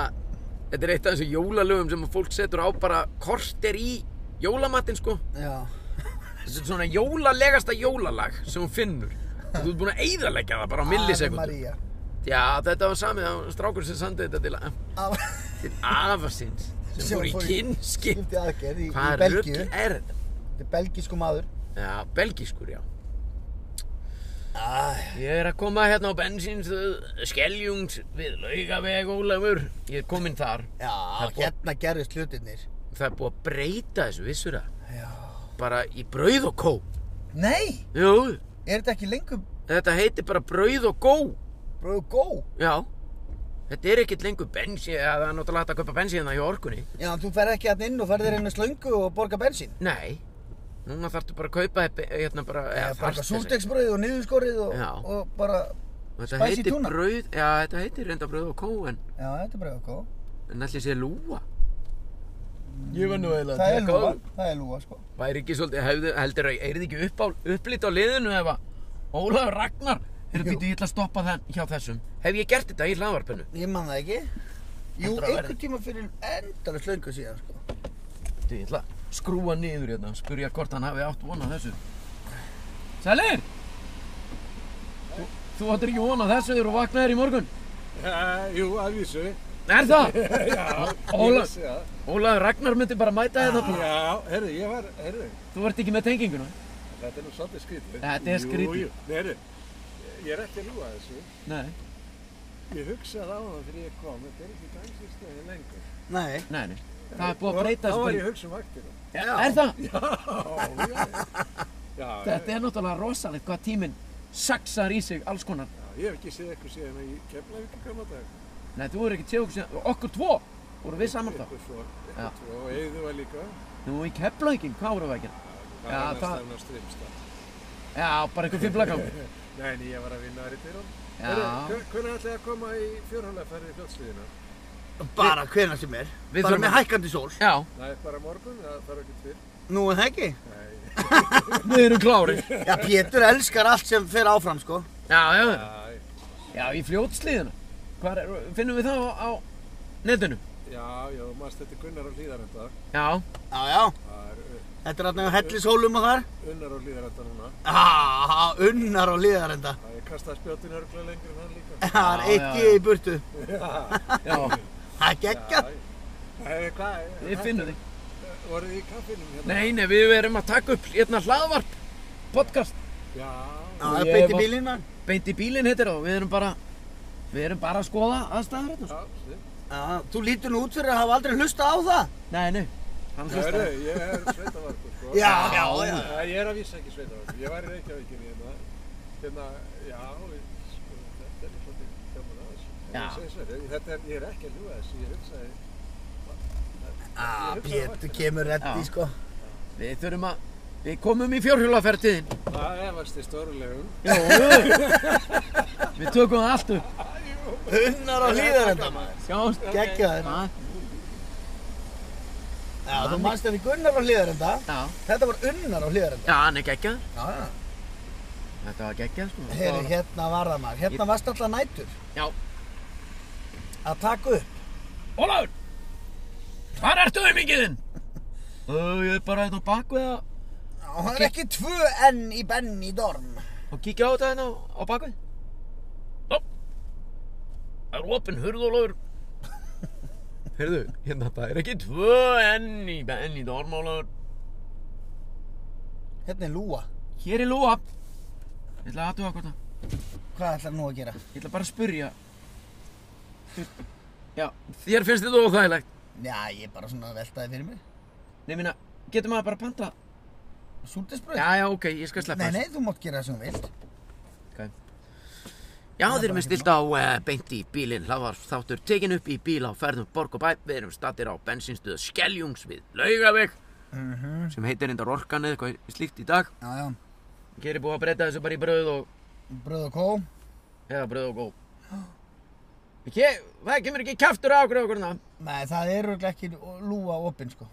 Þetta er eitt af þessu jólalögum sem að fólk setur á bara korter í jólamatinn, sko Já Þetta er svona jólalegasta jólalag sem hún finnur. Og Þú ert búin að eyðalegja það bara á millisekundum. María Já, þetta var samið á strákur sem sandi þetta til, Af- til afasins sem Sem fór í fór í kynnskip. skipti aðgerð í, í Hvað Belgíu rugl er þetta? Þetta er belgísku maður Já, belgískur, já. Æ, Ég er að koma hérna á bensinstöð Skeljungs við Laugaveg Ólafur. Ég er kominn þar. Já, Það er búið- hérna gerðist hlutirnir Það er búið að breyta þessu, vissur það? Já Bara í brauð og kó. Nei, Jú, er þetta ekki lengur þetta heitir bara brauð og gó. Bro, go Já. Þetta er ekkert lengur bensin, eða það er náttúrulega hægt að kaupa bensin það hjá orkunni. Já, þú ferð ekki hérna inn og ferð þér inn með slöngu og borga bensín Nei. Núna þarftu bara að kaupa þér be- hérna bara... eða Eða þarft borga þess- súldegsbröð og niðurskorið og, Já. og bara Þetta spicy heitir tuna. brauð, já þetta heitir reynda brauð og kó en, Já, þetta er bara go en allir sé lúa. Ég var nú eiginlega Það er lúa, það er lúa sko væri ekki svolítið, hefðu, heldur að er þið ekki upp á, upplýtt á liðinu ef að Ólafur Ragnar er Jú. býtið illa að stoppa þenn hjá þessum hef ég gert þetta í hlaðvarpinu Ég man það ekki Jú, Heldur að verði. einhvern tíma fyrir endara slöngu síðan sko Býttu, ég ætla að skrúa niður hérna spurja hvort hann hafi átt von á þessu Sælir þú, þú áttir ekki von á þessu þegar þú vaknaðir í morgun Já, jú, að vísu. er það? Ég Ólaf, vissi það. Ólafur Ragnar myndi bara mæta þetta Já, herru, ég var, herru, þú ert ekki með tenginguna þetta er nú svolítið skrítið. Þetta er skrítið. Jú, jú, Nei, herru, ég er ekki að lúa þessu. nei, Ég hugsaði á það fyrir ég kom, þetta er ekki dansistöði lengur. Nei nei, nei það er búið að breyta þessu. Þá var ég þessu að hugsa um vaktina. bara í- er það? Já, já, já. Þetta er náttúrulega rosalegt hvað tíminn saxar í sig alls konar. Já, ég hef ekki séð eitthvað síðan að ég kemla ykkur koma dag. Nei, þú eru ekki tjók sem, okkur tvo, voru við saman þá. Ykkur svo, Já. ykkur tvo, og eigðu var líka. Nú, í Keflavíkinn, hvað voru við að gera? Já, Það var það- næstafn á strimstað. Já, bara einhver fimlagang. Nei, en ég var að vinna aðri til hún. Já. Hvernig ætlaði að koma í fjórhólaferði í fljótsliðina? Bara hvenær sem er Við Bara þurfum með að- hækkandi sól Já, Nei, bara morgun, það þarf ekki til. Nú er það ekki Nei, við erum klárir. Já, Pétur elskar allt sem fer áfram sko Já, já, já, já, í fljótslíðina. Hvar er, finnum við það á, á netinu? já, já, maður stætti Gunnar á hlýðarenda. Já, Já, já Það er uh, Þetta er alltaf hellishólum og þar Unnar á hlýðarenda núna. Ah, unnar og liðar enda Það er kastað spjótin örgulega lengur en hann líka. Það er Já, eitt í já, já. í burtu Já, já, Það er geggjað já. Nei, hvað? eh, við finnum þig. Voruð þið í kaffinum hérna? Nei, nei, við erum að taka upp hérna hlaðvarp, podcast, Já, Já, það Ég er beint í var- bílinn hann beint í bílinn heitir það og við erum bara, við erum bara að skoða aðstæður hérna. já, snill. Já, Þú lítur nú út fyrir að hafa aldrei hlusta á það Nei, nei, hann Það hlustar. eru, ég er sveitavarkur, sko. Já, já, já Nei, ég er að vísa ekki sveitavarkur. Ég var í Reykjavíkinni hérna. Hérna, já, sko, þetta er svolítið gaman að þessu. En Já. ég segi svo, Þetta er, ég er ekki að ljúga þessu, ég hugsaði, Já, Pétur kemur reddi Já. sko Við þurfum að, við komum í fjórhjólafertiðin. það efast um. í stórulegum. Jó, við tökum það allt upp. Unnar og liðar enda Sjáumst. Geggjaður Ha? Já, þú manst þetta Gunnar og liðar enda Já, Þetta var unnar og liðar enda já, hann er geggjaður. Já, já Þetta var geggjað, sko. Heyri, hérna var það maður Hérna varst alltaf nætur Já. Að taka upp Ólafur, hvar ertu um yngiðinn? Uh, ég er bara hérna á bakvið að- Já, Það er ekki tvö enn í benn í dorm og kíkja á þetta hérna á- á bakvið. Ó, það er opinn hurð, Ólafur. Heyrðu, hérna, það er ekki tvö enn í benn í dorm, Ólafur. Hérna er lúa Hér er lúa. Ég ætla að aðtuga hvort það. Hvað ætlar nú að gera? Ég ætla bara að spyrja Þú veist, Já, þér finnst þetta óþægilegt Já, ég er bara svona að velta þið fyrir mér Nei, minna, getur maður bara að panta Súldisbröð Já, já, ok, ég skal sleppa Nei, nei, þú mátt gera það sem þú vilt. Já, þeir eru með stilt á uh, beint í bílinn Hlavar þáttur tekin upp í bíl á ferðum Borg og bæ Við erum stattir á bensinstöðu Skeljungs við Laugaveg Mhm. Sem heitir reyndar orkan eða eitthvað slíkt í dag Já, já, Hér er búið að breyta þessu bara í brauð og bröð og kó. Eða brauð og góð Hér, það kemur ekki kjaftur á okkur og okkur þarna. Nei, það er örugglega ekki lúa opinn, sko.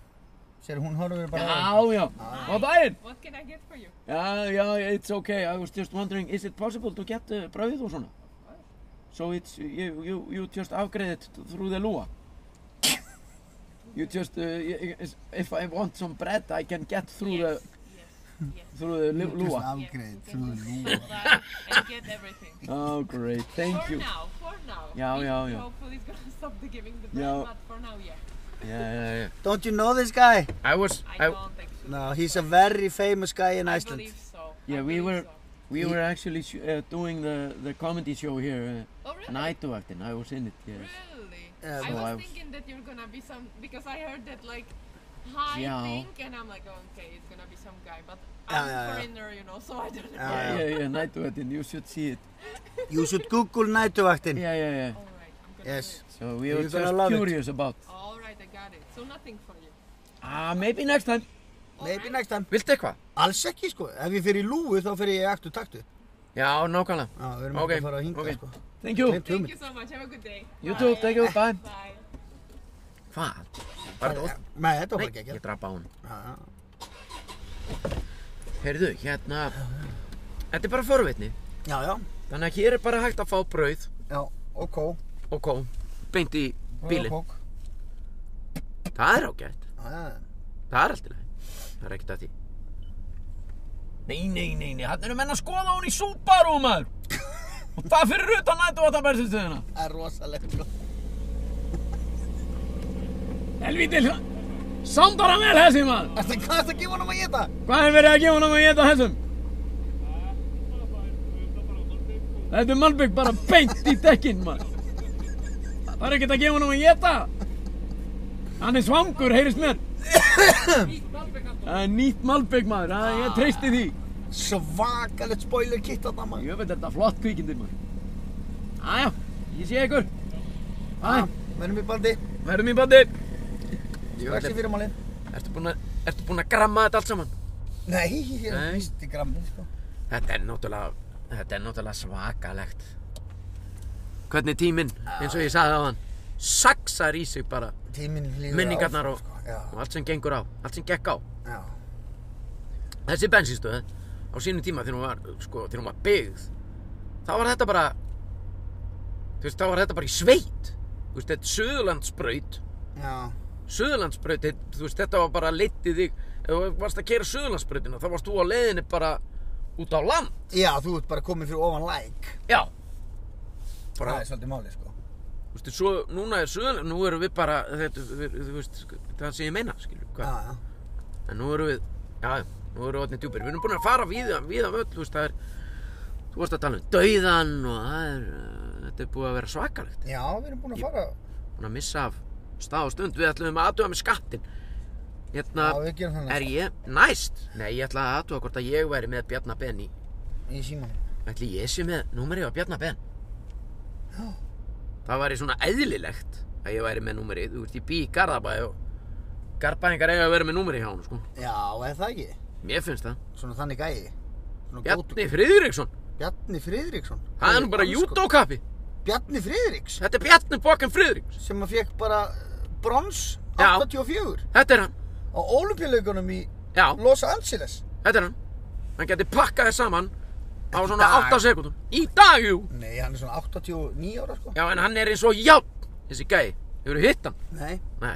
Sér, hún horfir bara... á- Já, já, á daginn What can I get for you? Yeah, yeah, it's okay. I was just wondering, is it possible to get uh, brauð og svona? So it's, you, you, you just upgrade it through the lúa. You just, uh, y- y- is- if I want some bread, I can get through the... Yes. through the lu- lúa. afgreið They þrjú will lúa. sell that and get everything. Oh great, thank for you. now, for now. Yeah, It- yeah, yeah. Hopefully it's gonna stop the giving the Yeah. brand, but for now, yeah. Yeah, yeah, yeah. Don't you know this guy? I was, I I, don't actually. No, he's a very famous guy in I Iceland. believe so. I Yeah, we believe were- so. We were actually sh- uh, doing the, the comedy show here, Oh, uh, really? Nætuvaktin, I was in it, yes. Really? Yeah, I so was I was- thinking that you're gonna be some because I heard that like high Yeah. thing, and I'm like, oh, okay, it's gonna be some guy, but Yeah, I'm yeah, yeah. a foreigner, you know, so I don't know. Yeah. Yeah, yeah, yeah, Nætuvaktin, you should see it. You should Google nætuvaktin. Yeah, yeah, yeah. All right, I'm gonna. do Yes. it. So we You're were gonna love just it. curious about. All right, I got it. So nothing for you. Ah, maybe next time. Maybe next time. viltu eitthvað? Alls ekki sko. Ef ég fyrir lúu þá fyrir ég aktu taktu. Já, nákvæmlega. Já, við erum Ok, ekki að fara að hinga ok. sko. Thank you. Klimt Thank hugmynd. you so much. Have a good day. You too, thank you, bye. Bye. Hvað? Var þetta ótt? Nei, þetta var Nei, ekki ekki. ég drapa á hann. Já, Heyrðu, hérna, þetta er bara forvitni. já, já, Þannig að hér er bara hægt að fá brauð já, ok. og kó beint í bílinn. Og kók. Það er ágætt. Já, já. Það er alltaf leið. Það er ekkert að því. Nei, nei, nei, nei. Hann eru menn að skoða hún í Subaru, maður. og það fyrir utan nætuvaktabærsistöðina. Það er rosalegt sko. Helvítil, sándar hann vel þessi maður. Ertu hvað ertu að gefa honum að geta? Hvað er verið að gefa hann að geta þessum? Þetta er malbygg bara beint í dekkin maður. Það er ekkert að gefa hann að geta. Hann er svangur, heyrist mér. Það er nýtt malbygg maður, það- ég treysti því. Svakalegt spoiler kit þarna maður. Ég veit þetta er flott kvikindi maður. Æja, ég sé ykkur. Æja, Verðum í bandi. verðum í bandi. Strax í fyrirmálinn. Ertu búinn að, ertu búin að gramma þetta allt saman? Nei, ég er Nei. vist í grammið sko. Þetta er náttúrulega, þetta er náttúrulega svakalegt. Hvernig tíminn, eins og ég sagði á hann, saxar í sig bara Tíminn líður minningarnar áfram, og, sko. og allt sem gengur á, allt sem gekk á. Já, já. Þessi bensinstöð á sínum tíma þegar hún var, sko, þegar hún var byggð, þá var þetta bara, þú veist, þá var þetta bara í sveit. Þú veist, þetta er Suðurlandsbraut, Já, Suðurlandsbraut, þetta- þú veist, þetta var bara leittið þig, ef þú varst að kera Suðurlandsbrautina, þá varst þú á leiðinni bara út á land. já, þú ert bara komin fyrir ofan læk. Já. Það er svolítið máli, sko. Þú veist, svo, núna er söðan, nú erum við bara, þetta, við, þú veist, það sem ég meina, skilur, Já, hvað? já. En nú erum við, já, já, nú erum við vatnið djúpir. Við erum búin að fara víða, víða völl, þú veist, það er, þú varst að tala um dauðan og það er, uh, þetta er búið að vera svakalegt. Já, við erum búin að fara. Búin að missa af stað og stund, við ætlum að aðtuga með skattin. Hérna, Já, við gerum þannig. er ég, næst, nei, ég ætla að aðtuga hvort að ég væri með Bjarna Ben í, Í símanum. ætli ég sé með númerið á Bjarna Ben. Já. Það væri svona eðlilegt að ég væri með númerið, þú veist, ég bý í Garðabæði og Garðbæðingar eiga að vera með númerið hjá hann, sko. Já, eða það ekki. Mér finnst það. Svona þannig gæi. Svona Bjarni gótur. Friðriksson, Bjarni Friðriksson. það er nú bara Alls jútókappi. gott. Bjarni Friðriks, Þetta er Bjarni Bokkan Friðriks. sem að fekk bara eh, brons Já. 84 Þetta er hann, á ólumpíuleikunum í já, Los Angeles. þetta er hann. Hann geti pakkað þér saman á Í svona dag. 8 sekundum. Í dag, jú. Nei, hann er svona 89 ára, sko. Já, en hann er eins og játn, þessi gæi. Hefur hitt hann? Nei. Nei,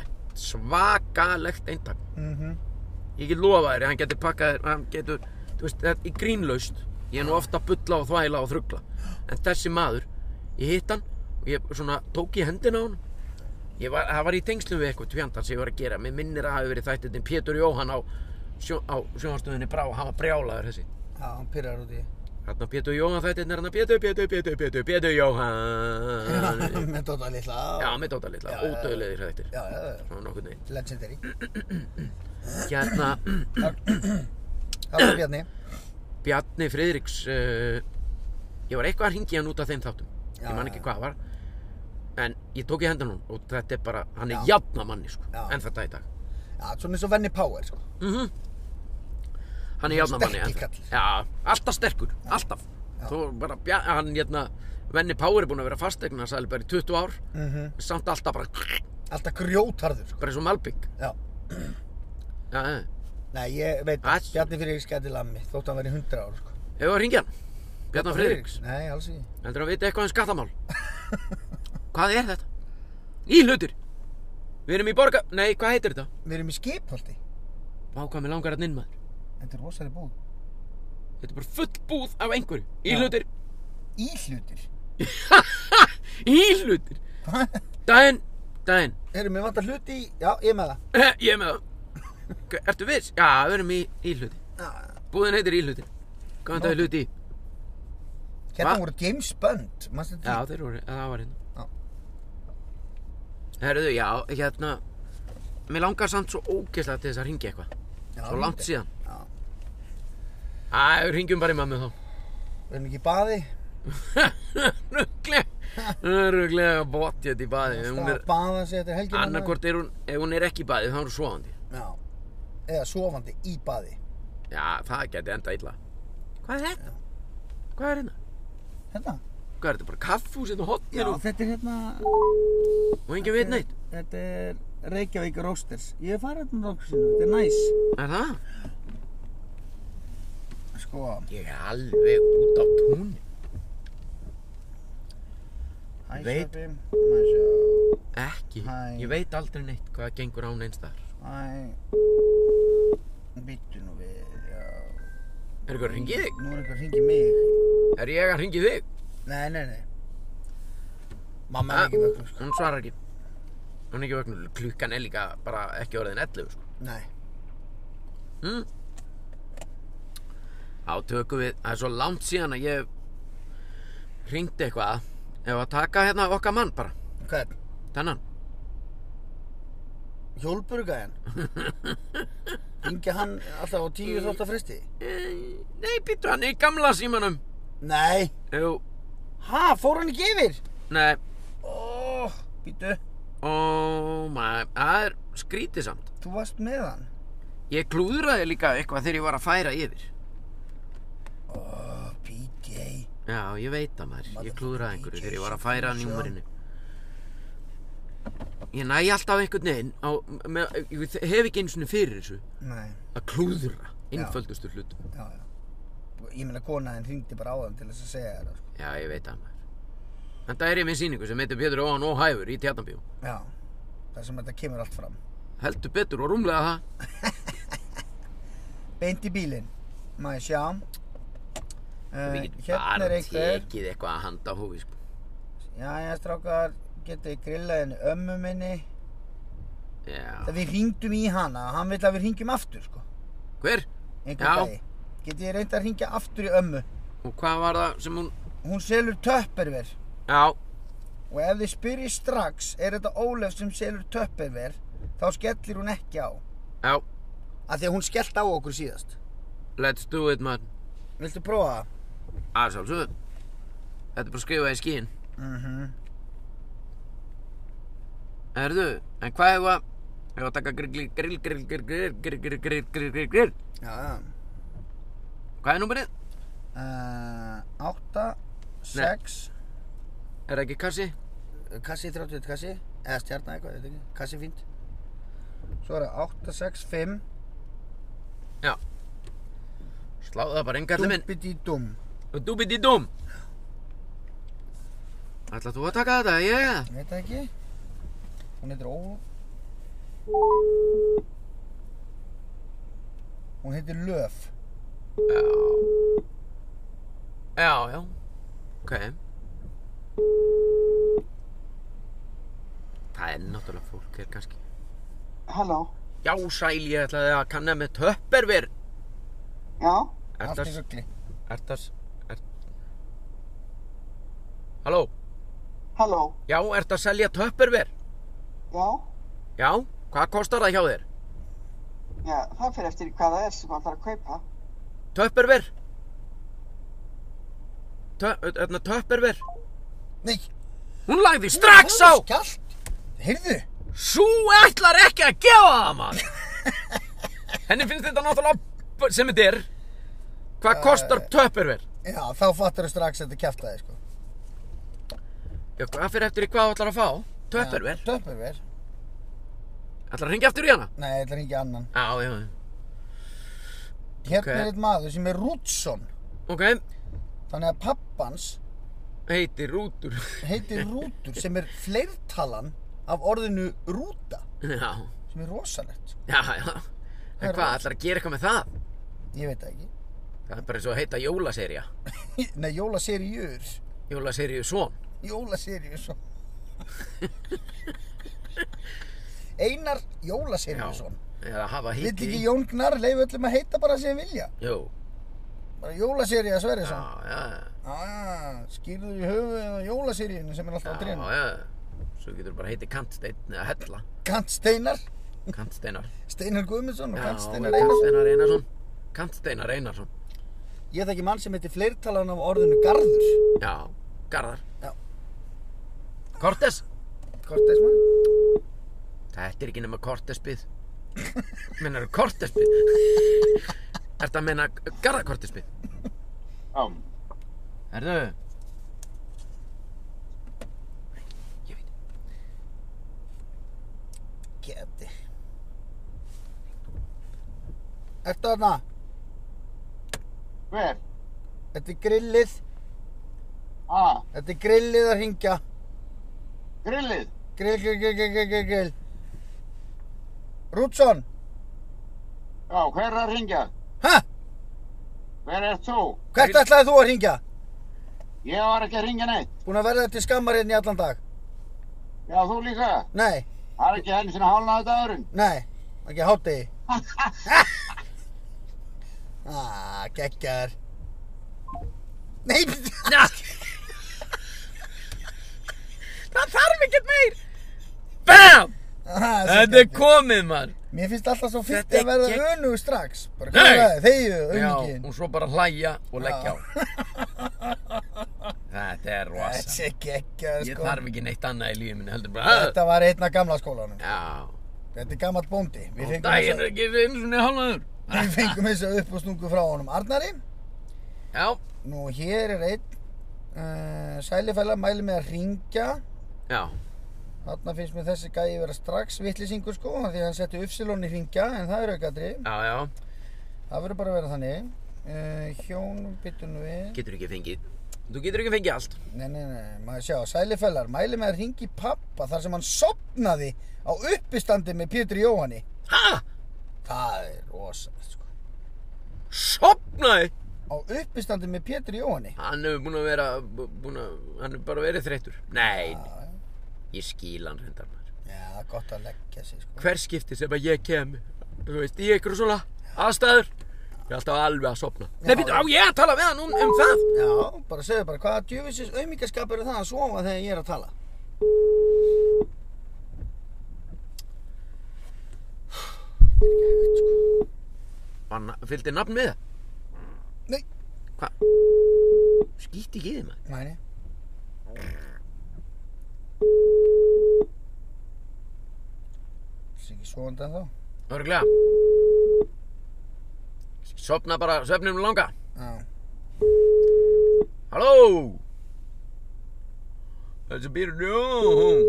svakalegt eintak. Mm Ég get lofa þér, hann getur pakkað þér, hann getur, þú veist, þetta er grínlaust. Ég er nú ofta að bulla og þvæla og þrugla. En þessi maður, ég hitt hann og ég svona tók í hendina á hann. Ég var, það var í tengslum við eitthvað tvjandar sem ég var að gera. Mér minnir að hafa verið þættin Pétur Jóhann á, sjó, á sjónvarstöðinni Brá, hann var brjálaður þessi. Já, hann pyrrar út í. Þarna Pétur Jóhann þættin er hann að Pétur, Pétur, Pétur, Pétur, Pétur Jóhann. Með Dóta Lilla. Já, með dóta litla, Já, já, já. ódöðlegir þættir. Já, já, já. Svona nokkurn veginn. Legendary. Hérna, Það var Bjarni. Bjarni Friðriks uh, ég var eitthvað að ringi hann út af þeim þáttum Já, ég man ekki já. hvað það var en ég tók í hendan hún og þetta er bara hann er Já. jafna manni sko, Já. en þetta í dag Já, svona eins og Venni Power, sko. mm hann er jafna manni Sterki ennþá. kall. Já, alltaf sterkur, alltaf Þó bara, Bja- hann hérna Venni Power er búin að vera fastegna sæli bara í 20 ár Mm samt alltaf bara, Alltaf grjótarður, sko. bara eins og malbygg Já. Já, já. Nei, ég veit að Ætli. Bjarni Friðriks gæti lammi, þótt hann verið 100 ára, sko. Hefur að ringja hann Bjarni Friðriks, Nei, alls ekki. heldur að vita eitthvað um skattamál Hvað er þetta? Í hlutir Við erum í borga... Nei, hvað heitir þetta? Við erum í skipholti. Vá, hvað mér langar að ninn maður Þetta er rosalega búð. Þetta er bara full búð af einhverju. Já. Íhlutir, Íhlutir. íhlutir. Hvað? Daginn, daginn. Eh, Erum við vantar hluti í... Já, ég er með það. Ég er með það. Hva- Ertu viss? Já, við erum í íhluti. Já, Búðin heitir íhlutir. Hvað er þetta hluti í? Hérna Hva? voru James Bond. Manstu Já, þetta? þeir voru, eða það var hérna. Já. Herðu, já, hérna, mér langar samt svo ógeðslega til þess að ringi eitthvað. Svo langt síðan. Já. Æ, við ringjum bara í mammi þá. Við erum ekki í baði. Ruglega, ruglega botjett í baði. Ef hún Það er- er að baða sig eftir helgina. Annarkvort er hún, ef hún er ekki í baði, þá er hún svoðandi. Já. Eða sofandi í baði. Já, það geti enda illa. Hvað er þetta? Hvað er hérna? Hérna? Hvað er þetta? Bara kaffhús hérna á hotninu þetta er hérna... og enginn veit neitt. Þetta er Reykjavík Roasters. Ég er farið hérna Roasters. Þetta er næs. Er það? Sko, Ég er alveg út á túnni. hæ, Veit- Sveppi. Má ég sjá. Ekki. Hæ. Ég veit aldrei neitt hvað gengur án eins þar. Æ, býttu nú við, já. Er eitthvað að ringi þig? Nú er eitthvað að ringi mig. Er ég að ringi þig? Nei, nei, nei. Mamma er ekki vöknu, sko. Hún svarar ekki. Hún er ekki vögnu. Klukkan er líka bara ekki orðin 11, sko. Nei. Mm. Á tökum við, það er svo langt síðan að ég ringdi eitthvað ef að taka hérna okkar mann bara, Hvern? þennan Hjólburgæðin? Ringi hann alltaf á tíu þótt að fristi? Eh, Nei, býttu hann er í gamla símanum Nei. Jú, Ha, fór hann ekki yfir? nei, Ó, býttu. ó, maður, Oh það er skrítið samt Þú varst með hann? Ég klúðraði líka eitthvað þegar ég var að færa yfir Ó, PJ. Já, ég veit það maður, ég klúðraði einhverju þegar ég var að færa njúmerinu Ég næ alltaf einhvern veginn á, með, ég hef ekki einu sinni fyrir þessu Nei, að klúðra einföldustu hlutum já, já. Ég meina kona henn ringdi bara á hann til þess að segja þér það, sko. Já, ég veit það maður En það er ég með sýningu sem heitir Pétur Óhann Óhæfur í Tjarnabíu Já. Það sem þetta kemur allt fram. Heldur betur og rúmlega það beint í bílinn má ég sjá uh, Við getum hérna er bara einhver tekið eitthvað að handa á hófi sko. jæja strákar getið þið grillað henni ömmu minni Já, það við hringdum í hana hann vill að við hringjum aftur sko hver? einhver Já. dagi getið þið reynd að hringja aftur í ömmu Og hvað var það sem hún hún selur töpperver Já, og ef þið spyrjið strax er þetta Ólef sem selur töpperver þá skellir hún ekki á já, af því að hún skellt á okkur síðast let's do it man viltu prófa það? Að sjálfsögðu Þetta er bara að skrifa í skín mhm Erðu, en hvað hefur að Hefur að taka grill, grill, grill, grill, grill, grill, grill, grill, grill, grill, grill já já Hvað er númerið? uh, 8 6 Er það ekki kassi? kassi 31 kassi eða stjarnar eitthvað, ég veit ekki, kassi fínt svo er það 8, 6, 5 Sláðu það bara engarli minn dúbidi dum Og dúbidi dúm Ætla þú að taka þetta, yeah ég veit það ekki hún heitir Ó hún heitir Löf Já Já, já Ok Það er náttúrulega fólk hér kannski Halló, Já, sæl, ég ætlaði að kanna með töpperver já, allt í Ertas, ruggli ertas er... Halló, halló, já, ertu að selja töpperver? já, Já, hvað kostar það hjá þér? já, það fyrir eftir í hvað það er sem maður þarf að kaupa. Töpperver? Tö, öðna, töpperver? nei, Hún lagði strax á! skjalt heyrðu, Sú ætlar ekki að gefa það maður Henni finnst þetta náttúrulega b- sem þetta er Hvað kostar töpurver? já, þá fattar þú strax að þetta kjæft aðeins sko Já, hvað fyrir eftir í hvað þú ætlar að fá? Töpurver? töpperver, Ætlar að ringja aftur í hana? nei, ég ætla að ringja annan Já, já, já. hérna Ok. er einn maður sem er Rútsson ok þannig að pappans Heitir Rútur heitir Rútur sem er fleirtalan af orðinu rúta Já, sem er rosalegt já, já En hvað, ætlar að gera eitthvað með það? Ég veit það ekki. Það er bara eins og að heita jólaserja. Nei, jólaserjur. Jólaserju svon. Jólaserjur svo. Einar Jólaserjursson. Eða hafa Vill hiki. ekki Jón Gnar leiði öllum að heita bara sem vilja. Jú. Bara Jólaserja Já, Sverrisson. já, Ah, skýrður í höfuðið á jólaserjunni sem er alltaf á já, trénu. já. Svo getur þú bara heiti kantsteinn eða hella. Kant Steinar, Kantsteinar. Steinar Guðmundsson og Já, Kant Steinar Einarsson. Kantsteinar Einarsson. Kantsteinar Einarsson. Ég þekki mann sem heitir fleirtalan af orðinu Garður. Já, Garðar. Já. Kortes. Kortes maður. Þetta er ekki nema kortesbyð. Mennar kortesbyð? Ertu að menna garðakortesbyð? Já. Erðu? Ég veit. Geti. Ertu þarna? Hver? Þetta er grillið. Ah, Þetta er grillið að ringja. grillið. Grill, grill, grill, grill, grill, grill, grill. Rútsson. Já, hver er að ringja? Hæ? Hver er þú? Hvert ætlaði þú að ringja? Ég var ekki að ringja neitt. Búin að verða til skammarinn í allan dag. Já, þú líka. Nei, Það er ekki henni sinna hálnaði dagurinn. nei. Ekki hátegi. ah, geggar. Nei, Það þarf ekkert meir! BAM! Ah, Þetta er komið, mann! Mér finnst alltaf svo fyrst Þetta að verða gekk- gegn... önugu strax. Bara Nei. hvað er það? Þegju, Já, sko, önugin. og svo bara hlæja og leggja á. Þetta Þetta er rosa. er geggjað, Ég sko. þarf ekki neitt annað í lífið minni, heldur bara... "Ah!" Þetta var einn af gamla skólanum. Já, Þetta er gammal bóndi. Við og fengum daginn er þessa- ekki einu svona hálnaður. við fengum þessu upp og snungu frá honum Arnari. Já, Nú, hér er einn. Uh, sælifæla mæli með að ringja. já, Þarna finnst mér þessi gæi vera strax vittlisingur, sko. af Því að hann setti uppsilón í ringja, en það er aukadri. já, já. Það verður bara að vera þannig. Uh, hjón, byttunum við. Getur ekki fengið. Þú getur ekki fengið allt. Nei, nei, nei, maður sjá, sælifellar, mæli með að ringi pappa þar sem hann sopnaði á uppistandi með Pétur Jóhanni. Ha? Það er rosalegt, sko. Sopnaði? Á uppistandi með Pétur Jóhanni. Hann hefur búin að vera, búin að, hann hefur bara verið þreyttur. Nei, ég skil hann reyndar maður. Já, það er gott að leggja sig, sko. Hver skipti sem að ég kem, þú veist, í einhverju svona aðstæður, ég er alltaf alveg að sopna. Nei, býttu, á ég að tala við hann um, um það? Já, bara segðu bara, hvaða djöfisins auðmingaskapur er það að sofa þegar ég er að tala? Þetta er ekki hægt, sko. Hann fylgdi nafn með það. Nei. Hva? Skýtti ekki í þið maður. Mæni. Það er ekki svonandi en þá. Örglega. Sopna bara, svefnum langa. Já. Halló! Þetta er Byrjun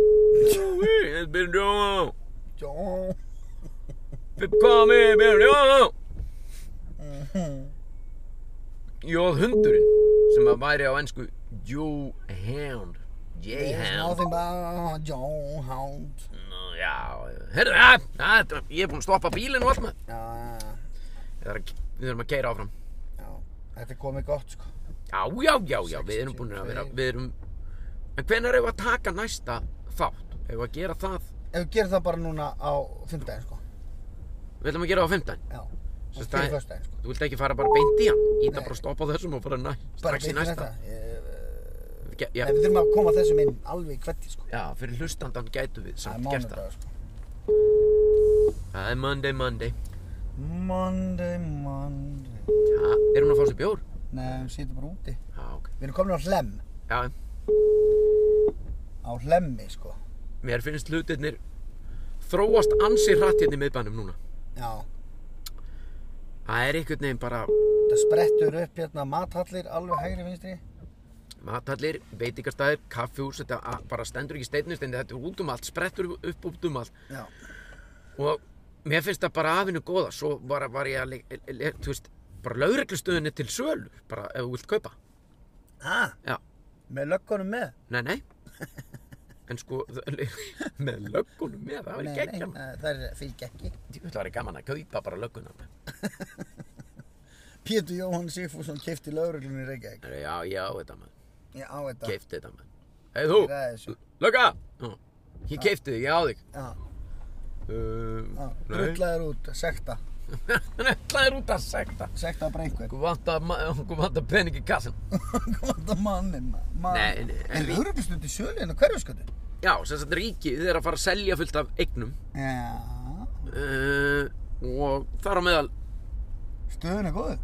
Jó Þetta er Byrjun Jó Jó. Komi Byrjun Jó Jóð hundurinn sem að væri á ennsku J-Hound J-Hound Nothing but John Hound Nú, Já, herru, ja, ja, þetta- ég er búinn að stoppa bílinn og allt maður Já, já, já, Ég þarf að- Við þurfum að keira áfram já Þetta er komið gott sko Já, já, já, já, við erum búin að vera Við erum En hvenær eigum við að taka næsta þátt? Eigum við að gera það? Ef við gerum það bara núna á fimmdæðin sko Við ætlum að gera það á fimmtæn Já Og Svo það- fyrir föstudaginn sko Þú vilt ekki fara bara beint í hann? Íta Nei. bara að stoppa á þessum og fara næ, Bara strax í beitt í næsta. þetta Nei, Ge- Já, við þurfum að koma þessum inn alveg í kvetti sko já, fyrir hlustandan gætu við Það er samt gert það. mánudag sko Það er Monday, Monday. Monday, Monday Já, er hún að fá sér bjór? Nei, við sitjum bara úti Já, ok. Við erum komin á hlem Já, Á hlemmi sko mér finnst hlutirnir þróast ansi hratt hérna í miðbænum núna. Já Það er einhvern veginn bara Það sprettur upp hérna mathallir alveg hægri vinstri matallir, veitingastæðir, kaffihús, þetta a- bara stendur ekki steinist en þetta er út um allt, sprettur upp út um allt. Já og mér finnst það bara afinu góða svo bara var ég að le- le- le- þú veist, bara lauruglustöðinni til sölu bara ef þú vilt kaupa Ha? Já. Með löggunum með? nei, nei en sko, með löggunum með það var Nei, nei, í geggjum nei, það er fylg ekki það var gaman að kaupa bara lögguna Pétur Jóhann Sigfússon kefti lauruglunni í Reykjavík. Já, já, þetta mann. Ég á þetta. Keifti þetta mann. Hei þú, Ég ræði þessu. lögga! Nú, Ég keifti þig, ég á þig. Já, Um, já. nei. Drullaður út, sekta. Það er út að sekta. Sekta bara einhver. Hún vantar ma- okkur vantar pening í kassan. Góða mannin, mann. Nei, nei, en En við- lauruglustundi í sölinu, hverju skoðu? Já, sem sagt ríkið er að fara að selja fullt af eignum Já, uh, og þar á meðal, stöðun er góð.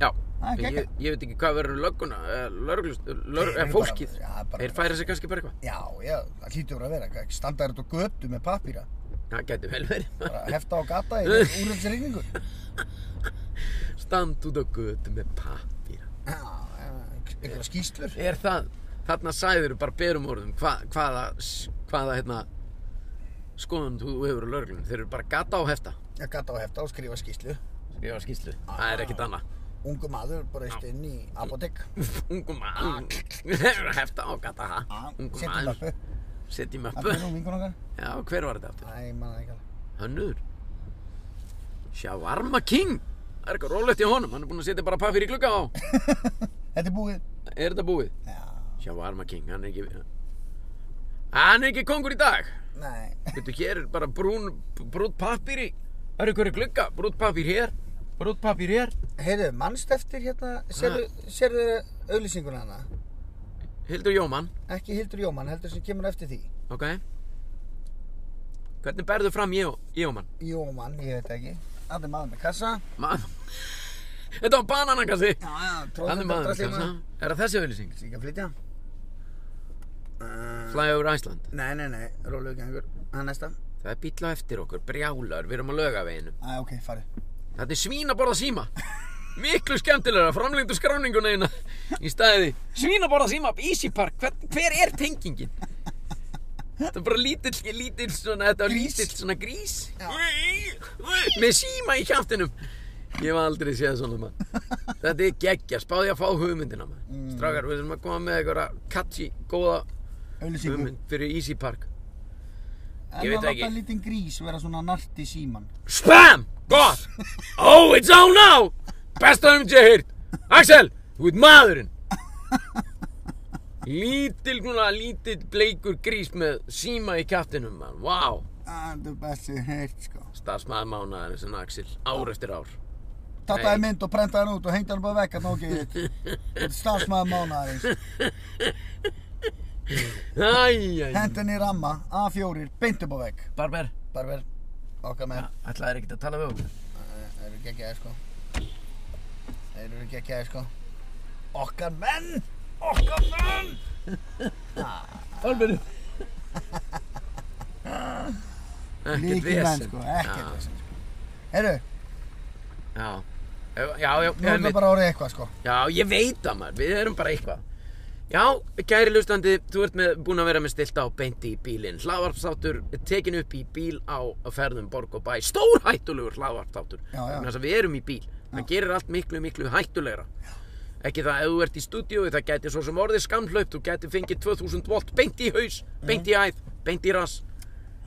já, Það er ég, geggjað. ég veit ekki hvað verður um lögguna, lörglust, lör, Þeir eru eh, fólkið, bara- já, bara- þeir færa sig kannski bara eitthvað. Já, já, það hlýtur að vera. Ekki standa þér út á götu með papíra. Það gæti vel verið. Bara hefta á gata í úrhaldsregningu. Stand út á götu með pappir. Já, einhverja skýslur. Er það, þarna sæður bara berum orðum hva, hvaða, s- hvaða hérna, skoðum þú hefur á lörglunum. Þeir eru bara gata á hefta. Já, gata á hefta og skrifa skýslu. Ég var skýslu. Það er ekkit annað. Ungu maður braust inn í apotek. Ungu maður, hefta á gata það. Ungu Settum maður, lappu. setjum upp. Það er nú vingun okkar. Já, hver var þetta aftur? Æ, ég manna ekki alveg. Hönnur Shawarma King Það er eitthvað rólegt í honum, hann er búinn að setja bara pappir í glugga á Þetta er búið. Er þetta búið? Já, Shawarma King, hann er ekki Hann er ekki kongur í dag nei. Veitu, hér er bara brún, brútt pappir í Það er eitthvað glugga, brútt pappir hér Brútt pappir hér Heyrðu, mannst eftir hérna, sérðu, sérðu auðlýsinguna hana? Hildur Jómann, Ekki Hildur Jómann, heldur sem kemur eftir því. ok Hvernig berðu fram Jó, Jómann? Jómann, ég veit ekki. Það er maður með kassa. Man Þetta var bananakassi Já, já, Þannig maður hérna. með kassa Er það þessi auðlýsing? Þessi ekki hérna. að flytja. Uh, Fly over Iceland nei, nei, nei, rólu ekki einhver. Það er næsta. Það er bíll á eftir okkur, brjálar, við erum á laugaveginu Æ, ok, farið. Þetta er svínaborða síma Miklu skemmtilega, framlengdu skráninguna eina Í staðið Svínaborða síma, Easy Park, hver, hver er tengingin? Þetta er bara lítill, lítill svona, þetta var Grís. lítill svona grís Með síma í kjaftinum Ég hef aldrei séð svona mann Þetta er geggja, spáði að fá hugmyndina mann Strákar, við þurfum að koma með einhverja catchy, góða Auðlýsingu. hugmynd fyrir Easy Park En veit að láta ekki. lítinn grís vera svona nart í síman. Spam! Gott! Oh, it's on now! Besta um ég heyrt! Axel, þú ert maðurinn! Lítil, núna, lítill bleikur grís með síma í kjaftinum, mann. Vá! Wow. Það er best sem ég hef heyrt, sko. Starfsmaður mánaðarins en Axel, ár eftir ár. Tattaði mynd og prentaði hann út og hengdi hann bara vekk að nóg ekki. Þetta er starfsmaður mánaðarins. Æj, æj. Hendin í ramma, A4, beint upp á vegg. Barber, Barber, okkar menn, ætlaðir ekkert að tala við okkur? þeir eru geggjaði sko. Þeir eru geggjaði sko. Okkar menn! Okkar menn! Alveg, Ekkert Líkir menn vesen. sko, ekkert vesen sko. Herru, Já, já, já, já, nú er einmitt. það bara orðið eitthvað sko. já, ég veit það maður, við erum bara eitthvað. Já, kæri hlustandi, þú ert með, búin að vera með stilt á beinti í bílinn. Hlaðvarpstáttur tekin upp í bíl á ferðum borg og bæ. Stór hættulegur hlaðvarpstáttur. Já, já. Þannig að við erum í bíl. Það gerir allt miklu, miklu hættulegra. Ekki það, ef þú ert í stúdíói, það gæti svo sem orðið skamhlaup. Þú gæti fengið 2000 volt beint í haus, beint í æð, beint í rass.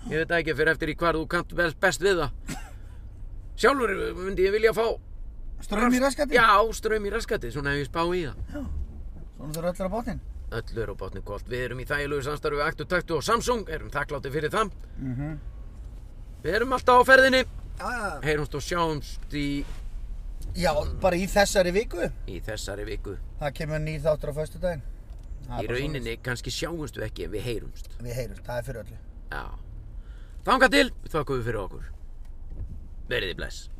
Ég veit það ekki fyrir eftir í hvar þú kannt best, best við það. Sjálfur myndi ég vilja fá, Strömm í raskati? já, ström í raskatið, svona ef ég spá í það. Svona þurfa öllir á bátinn. Öll eru á bátni kolt. Við erum í þægilegu samstarfi við Aktu Taktu og Samsung, erum þakklátti fyrir það. Við erum alltaf á ferðinni, Já, já. heyrumst og sjáumst í, Já, bara í þessari viku. í þessari viku. Það kemur nýr þáttur á föstudaginn. Það er Í bara svoleiðis. rauninni kannski sjáumst við ekki en við heyrumst. Við heyrumst, það er fyrir öllu. Já. Þanga til, þakkum við fyrir okkur. Verðið bless.